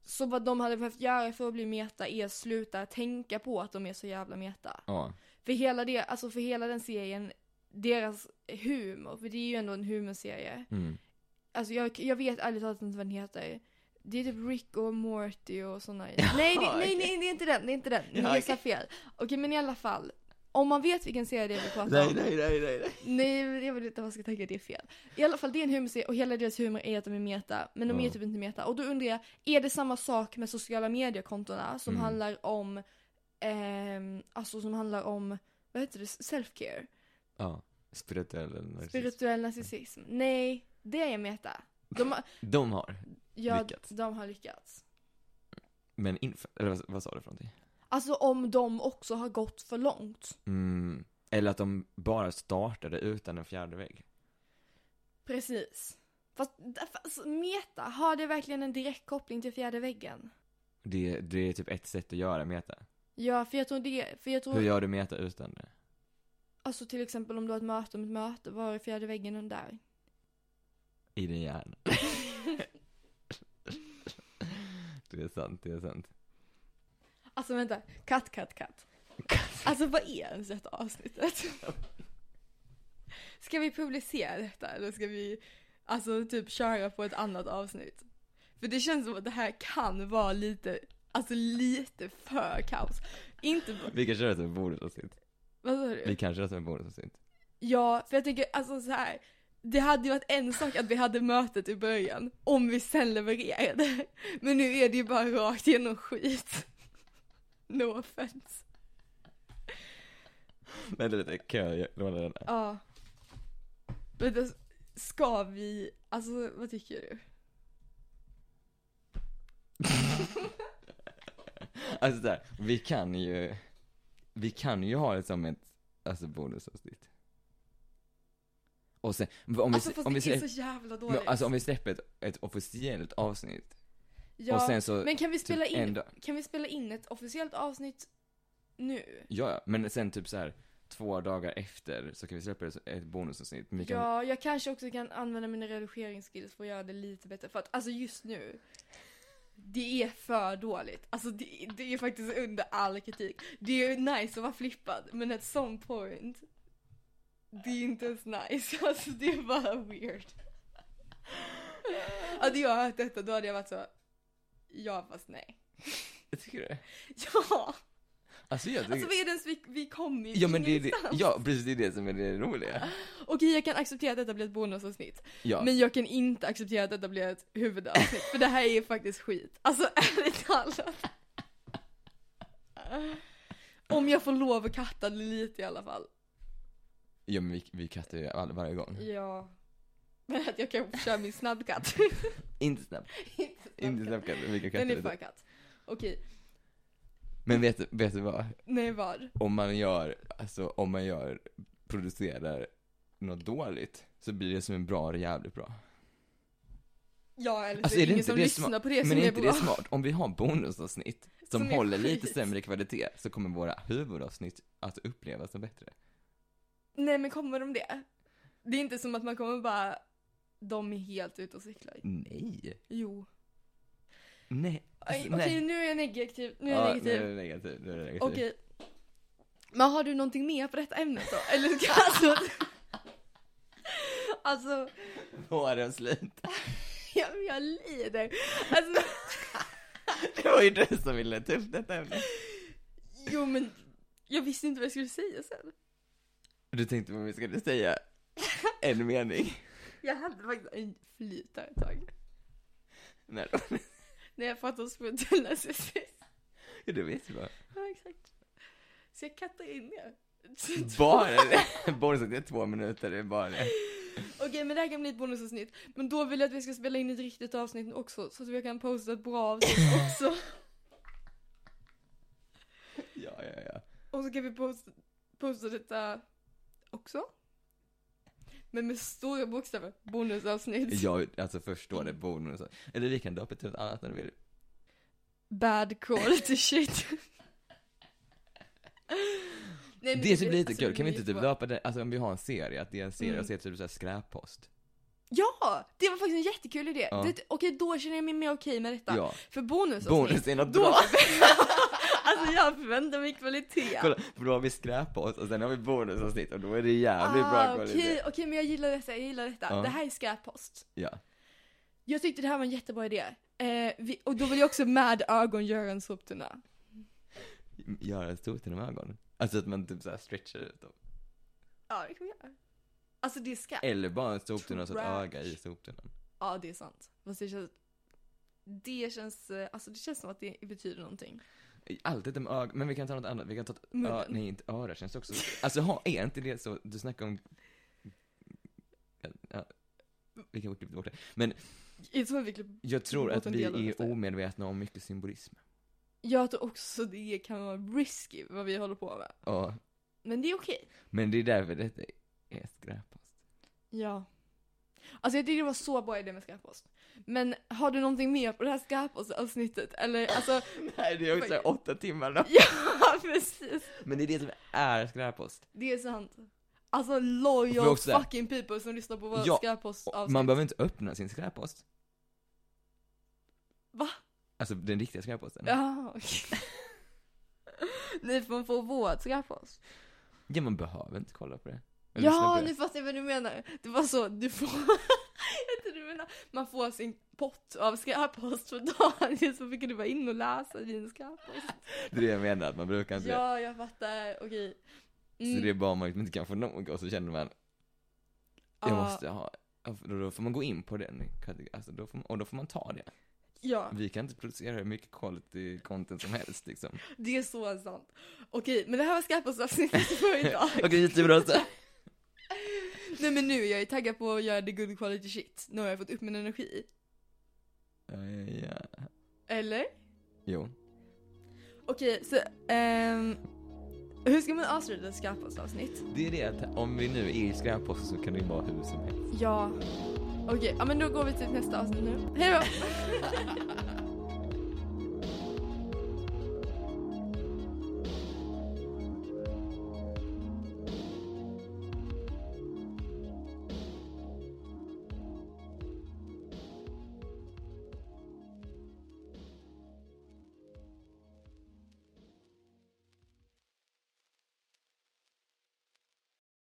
[SPEAKER 1] så vad de hade behövt göra för att bli meta är att sluta tänka på att de är så jävla meta.
[SPEAKER 2] Ja,
[SPEAKER 1] För hela, det, alltså för hela den serien, deras humor, för det är ju ändå en humorserie.
[SPEAKER 2] mm.
[SPEAKER 1] Alltså jag, jag vet ärligt talat inte vad den heter. Det är typ Rick och Morty och såna. nej, det, nej,
[SPEAKER 2] okej.
[SPEAKER 1] nej, det är inte den, det är inte den.
[SPEAKER 2] Ja,
[SPEAKER 1] Jag
[SPEAKER 2] okej.
[SPEAKER 1] sa fel. Okej, men i alla fall. Om man vet vilken serie det är vi pratar om.
[SPEAKER 2] nej, nej, nej.
[SPEAKER 1] Nej, men jag vill inte att man ska tänka att det är fel. I alla fall, det är en humorserie och hela deras humor är att de är meta, men de är
[SPEAKER 2] Ja.
[SPEAKER 1] typ inte meta. Och då undrar jag, är det samma sak med sociala mediekontona som
[SPEAKER 2] Mm.
[SPEAKER 1] handlar om, ehm, alltså som handlar om, vad heter det, self-care?
[SPEAKER 2] Ja, spirituell narcissism.
[SPEAKER 1] Spirituell narcissism? Nej, det är meta. De har,
[SPEAKER 2] De har,
[SPEAKER 1] ja,
[SPEAKER 2] Lyckats.
[SPEAKER 1] de har lyckats.
[SPEAKER 2] men inf- eller vad, vad sa du för någonting?
[SPEAKER 1] Alltså om de också har gått för långt.
[SPEAKER 2] Mm. Eller att de bara startade utan en fjärde vägg.
[SPEAKER 1] Precis. Fast, fast meta, har det verkligen en direkt koppling till fjärde väggen?
[SPEAKER 2] Det, det är typ ett sätt att göra meta.
[SPEAKER 1] Ja, för jag tror det, för jag tror...
[SPEAKER 2] Hur gör du meta utan det?
[SPEAKER 1] Alltså till exempel om du har ett möte om ett möte, var är fjärde väggen än där?
[SPEAKER 2] I din hjärna. det är sant, det är sant.
[SPEAKER 1] Alltså vänta, katt, katt, katt. Alltså vad är ens detta avsnittet? Ska vi publicera detta eller ska vi alltså typ köra på ett annat avsnitt? För det känns som att det här kan vara lite, alltså lite för kaos. Inte bara,
[SPEAKER 2] Vi kan köra som bonusavsnitt.
[SPEAKER 1] vad sa du?
[SPEAKER 2] Vi kan köra som bonusavsnitt.
[SPEAKER 1] Ja, för jag tänker alltså så här. Det hade ju varit en sak att vi hade mötet i början, om vi sen levererade. Men nu är det ju bara rakt igenom skit. No offense.
[SPEAKER 2] Vänta lite, kan jag låna den? här?
[SPEAKER 1] Ja. Men då ska vi, alltså vad tycker du?
[SPEAKER 2] Alltså där, vi kan ju, vi kan ju ha det som ett, alltså bonusavsnitt. Och sen, om vi,
[SPEAKER 1] Alltså fast
[SPEAKER 2] om
[SPEAKER 1] det
[SPEAKER 2] vi
[SPEAKER 1] är
[SPEAKER 2] släpper,
[SPEAKER 1] så jävla dåligt.
[SPEAKER 2] men, alltså om vi släpper ett, ett officiellt avsnitt
[SPEAKER 1] ja,
[SPEAKER 2] och sen så,
[SPEAKER 1] men kan vi, spela
[SPEAKER 2] typ en
[SPEAKER 1] in,
[SPEAKER 2] dag.
[SPEAKER 1] kan vi spela in ett officiellt avsnitt nu?
[SPEAKER 2] Ja, ja, men sen typ så här två dagar efter så kan vi släppa ett- ett bonusavsnitt. Men vi kan,
[SPEAKER 1] Ja, jag kanske också kan använda mina redigeringsskills för att göra det lite bättre. För att alltså just nu, det är för dåligt. Alltså det, det är faktiskt under all kritik. Det är ju nice att vara flippad, men at some point, det är inte ens nice. Alltså det är bara weird. Hade jag hört detta då hade jag varit så, ja fast nej.
[SPEAKER 2] Tycker du det?
[SPEAKER 1] Ja,
[SPEAKER 2] Alltså jag tycker...
[SPEAKER 1] alltså vad är det ens vi, vi kommer ju
[SPEAKER 2] ja men det är det,
[SPEAKER 1] ingenstans.
[SPEAKER 2] ja precis det är det som är det roliga.
[SPEAKER 1] Okej jag kan acceptera att detta blir ett bonusavsnitt.
[SPEAKER 2] Ja.
[SPEAKER 1] Men jag kan inte acceptera att detta blir ett huvudavsnitt, för det här är faktiskt skit. Alltså ärligt talat. Om jag får lov att katta det lite i alla fall.
[SPEAKER 2] Ja men vi, vi kattar ju all, varje gång.
[SPEAKER 1] Ja. Men att jag kan köra min snabbkatt.
[SPEAKER 2] Inte snabbt.
[SPEAKER 1] Inte
[SPEAKER 2] Inte
[SPEAKER 1] snabbkatt.
[SPEAKER 2] snabbt vi kan katta
[SPEAKER 1] Den är
[SPEAKER 2] lite.
[SPEAKER 1] för katt. Okej,
[SPEAKER 2] Men vet, du- vet du vad?
[SPEAKER 1] nej vad?
[SPEAKER 2] Om man gör, alltså om man gör, producerar något dåligt så blir det som en bra eller jävligt bra.
[SPEAKER 1] Ja eller så
[SPEAKER 2] Alltså,
[SPEAKER 1] är det
[SPEAKER 2] är det
[SPEAKER 1] ingen
[SPEAKER 2] inte
[SPEAKER 1] som
[SPEAKER 2] det
[SPEAKER 1] lyssnar
[SPEAKER 2] sma-
[SPEAKER 1] på det
[SPEAKER 2] men
[SPEAKER 1] som
[SPEAKER 2] är
[SPEAKER 1] är
[SPEAKER 2] inte det
[SPEAKER 1] bra.
[SPEAKER 2] smart? Om vi har bonusavsnitt som,
[SPEAKER 1] Som är
[SPEAKER 2] håller lite
[SPEAKER 1] skit.
[SPEAKER 2] sämre kvalitet så kommer våra huvudavsnitt att upplevas som bättre.
[SPEAKER 1] Nej men kommer de det? Det är inte som att man kommer bara, de är helt ute och cyklar.
[SPEAKER 2] Nej.
[SPEAKER 1] Jo.
[SPEAKER 2] Nej.
[SPEAKER 1] Aj,
[SPEAKER 2] Alltså, nej.
[SPEAKER 1] Okej nu är jag negativ, nu är jag
[SPEAKER 2] Ja, nu
[SPEAKER 1] negativ.
[SPEAKER 2] är det negativ. Nu är det negativ.
[SPEAKER 1] Okej. Men har du någonting mer på detta ämnet då? Eller ska alltså... Alltså,
[SPEAKER 2] Vårens slut.
[SPEAKER 1] jag, jag lider. Alltså,
[SPEAKER 2] Det var ju du som ville ta upp detta ämne.
[SPEAKER 1] jo men jag visste inte vad jag skulle säga sen.
[SPEAKER 2] Du tänkte vad vi skulle säga en mening.
[SPEAKER 1] Jag hade faktiskt en flyt där ett tag.
[SPEAKER 2] Nej, då.
[SPEAKER 1] när jag pratade om spirituell narcissism.
[SPEAKER 2] Ja, det vet jag.
[SPEAKER 1] Ja, exakt. Så jag kattar in det.
[SPEAKER 2] Bara det. Bonusavsnitt två minuter, det är bara det.
[SPEAKER 1] Okej, men det här kan bli ett bonusavsnitt. Men då vill jag att vi ska spela in ett riktigt avsnitt också, så att vi kan posta ett bra avsnitt också.
[SPEAKER 2] Ja, ja, ja.
[SPEAKER 1] Och så kan vi posta, posta detta också. Men med stora bokstäver, bonusavsnitt.
[SPEAKER 2] Jag alltså förstår det, bonus. Eller vi kan döpa till något annat när du vill.
[SPEAKER 1] Bad quality shit. Nej, men
[SPEAKER 2] Det skulle bli lite
[SPEAKER 1] alltså,
[SPEAKER 2] kul,
[SPEAKER 1] det
[SPEAKER 2] kan vi
[SPEAKER 1] blir
[SPEAKER 2] inte typ
[SPEAKER 1] jättebra.
[SPEAKER 2] döpa det, alltså om vi har en serie, att det är en serie
[SPEAKER 1] Mm.
[SPEAKER 2] och så heter det typ såhär skräppost.
[SPEAKER 1] Ja! Det var faktiskt en jättekul idé.
[SPEAKER 2] Ja.
[SPEAKER 1] Det, okej, då känner jag mig mer okej med detta.
[SPEAKER 2] Ja.
[SPEAKER 1] För bonusavsnitt,
[SPEAKER 2] Bonus är något
[SPEAKER 1] då...
[SPEAKER 2] bra.
[SPEAKER 1] alltså jag förväntar mig kvalitet.
[SPEAKER 2] Kolla, för då har vi skräppost och sen har vi bonusavsnitt och då är det jävligt bra
[SPEAKER 1] Ah,
[SPEAKER 2] kvalitet.
[SPEAKER 1] Okej, okej, men jag gillar detta, jag gillar detta.
[SPEAKER 2] Ja.
[SPEAKER 1] Det här är skräppost.
[SPEAKER 2] Ja.
[SPEAKER 1] Jag tyckte det här var en jättebra idé. Eh, vi, och då vill jag också med ögon göra en soptunna.
[SPEAKER 2] Göra en stor till de ögonen. Alltså att man typ såhär stretchar ut dem.
[SPEAKER 1] Ja, det kan vi göra. Alltså det är skräp.
[SPEAKER 2] Eller bara en soptunna så ett
[SPEAKER 1] Trash.
[SPEAKER 2] öga i soptunnan.
[SPEAKER 1] Ja, det är sant. Fast det känns... Det känns, eh, alltså det känns som att det betyder någonting.
[SPEAKER 2] Alltid om öga, men vi kan ta något annat, vi kan ta ett
[SPEAKER 1] Munnen.
[SPEAKER 2] ö, nej inte öra känns det också. Alltså ha, är inte det så, du snackar om... Ja, vi kan klippa bort det. Men
[SPEAKER 1] Det är som att vi klipp-
[SPEAKER 2] jag tror
[SPEAKER 1] Bort
[SPEAKER 2] att
[SPEAKER 1] en
[SPEAKER 2] vi
[SPEAKER 1] del av
[SPEAKER 2] är
[SPEAKER 1] detta.
[SPEAKER 2] omedvetna om mycket symbolism.
[SPEAKER 1] Jag tror också det kan vara risky vad vi håller på med.
[SPEAKER 2] Ja,
[SPEAKER 1] Men det är okej.
[SPEAKER 2] men det är därför detta är skräpast.
[SPEAKER 1] Ja. Alltså jag tycker det var så bra idé med skräppost. Men har du någonting mer på det här skräppostavsnittet? Eller alltså,
[SPEAKER 2] Nej, det är också
[SPEAKER 1] Faktiskt.
[SPEAKER 2] åtta timmar då.
[SPEAKER 1] ja precis.
[SPEAKER 2] Men det är det som är skräppost.
[SPEAKER 1] Det är sant. Alltså
[SPEAKER 2] Får jag
[SPEAKER 1] loyal
[SPEAKER 2] också säga-
[SPEAKER 1] fucking people som lyssnar på våra
[SPEAKER 2] Ja, Och
[SPEAKER 1] skräppostavsnitt.
[SPEAKER 2] Man behöver inte öppna sin skräppost.
[SPEAKER 1] Va?
[SPEAKER 2] Alltså den riktiga skräpposten.
[SPEAKER 1] Ja, okej. Ni får få vårt skräppost.
[SPEAKER 2] Ja, man behöver inte kolla på det. Eller lyssna
[SPEAKER 1] Ja,
[SPEAKER 2] på det.
[SPEAKER 1] nu fattar jag vad du menar. Det var så, du får... jag tror du menar, man får sin pott av skräppost för dagen. Så fick du bara in och läsa din skräppost.
[SPEAKER 2] Det är det jag menar, att man brukar inte
[SPEAKER 1] Ja, jag fattar. Okej. Mm,
[SPEAKER 2] det. Så det är bara om man liksom inte kan få nog och så känner man, jag
[SPEAKER 1] ja,
[SPEAKER 2] måste ha. ja, för Då då får man gå in på den kategorin, alltså, då får man, och då får man ta det.
[SPEAKER 1] Ja,
[SPEAKER 2] Vi kan inte producera hur mycket quality content som helst liksom.
[SPEAKER 1] det är så sant. Okej, men det här var skräppostavsnittet för idag.
[SPEAKER 2] Okej, jättebra så.
[SPEAKER 1] Nej men nu, jag är taggad på att göra the good quality shit. Nu har jag fått upp min energi.
[SPEAKER 2] Ja, ja, ja.
[SPEAKER 1] Eller?
[SPEAKER 2] Jo.
[SPEAKER 1] Okej, så ehm, Hur ska man avsluta ett skräppostavsnitt?
[SPEAKER 2] Det är det att om vi nu är i skräpposten så kan det ju vara hur som helst.
[SPEAKER 1] Ja. Okej, ja men då går vi till nästa avsnitt nu. Hej då!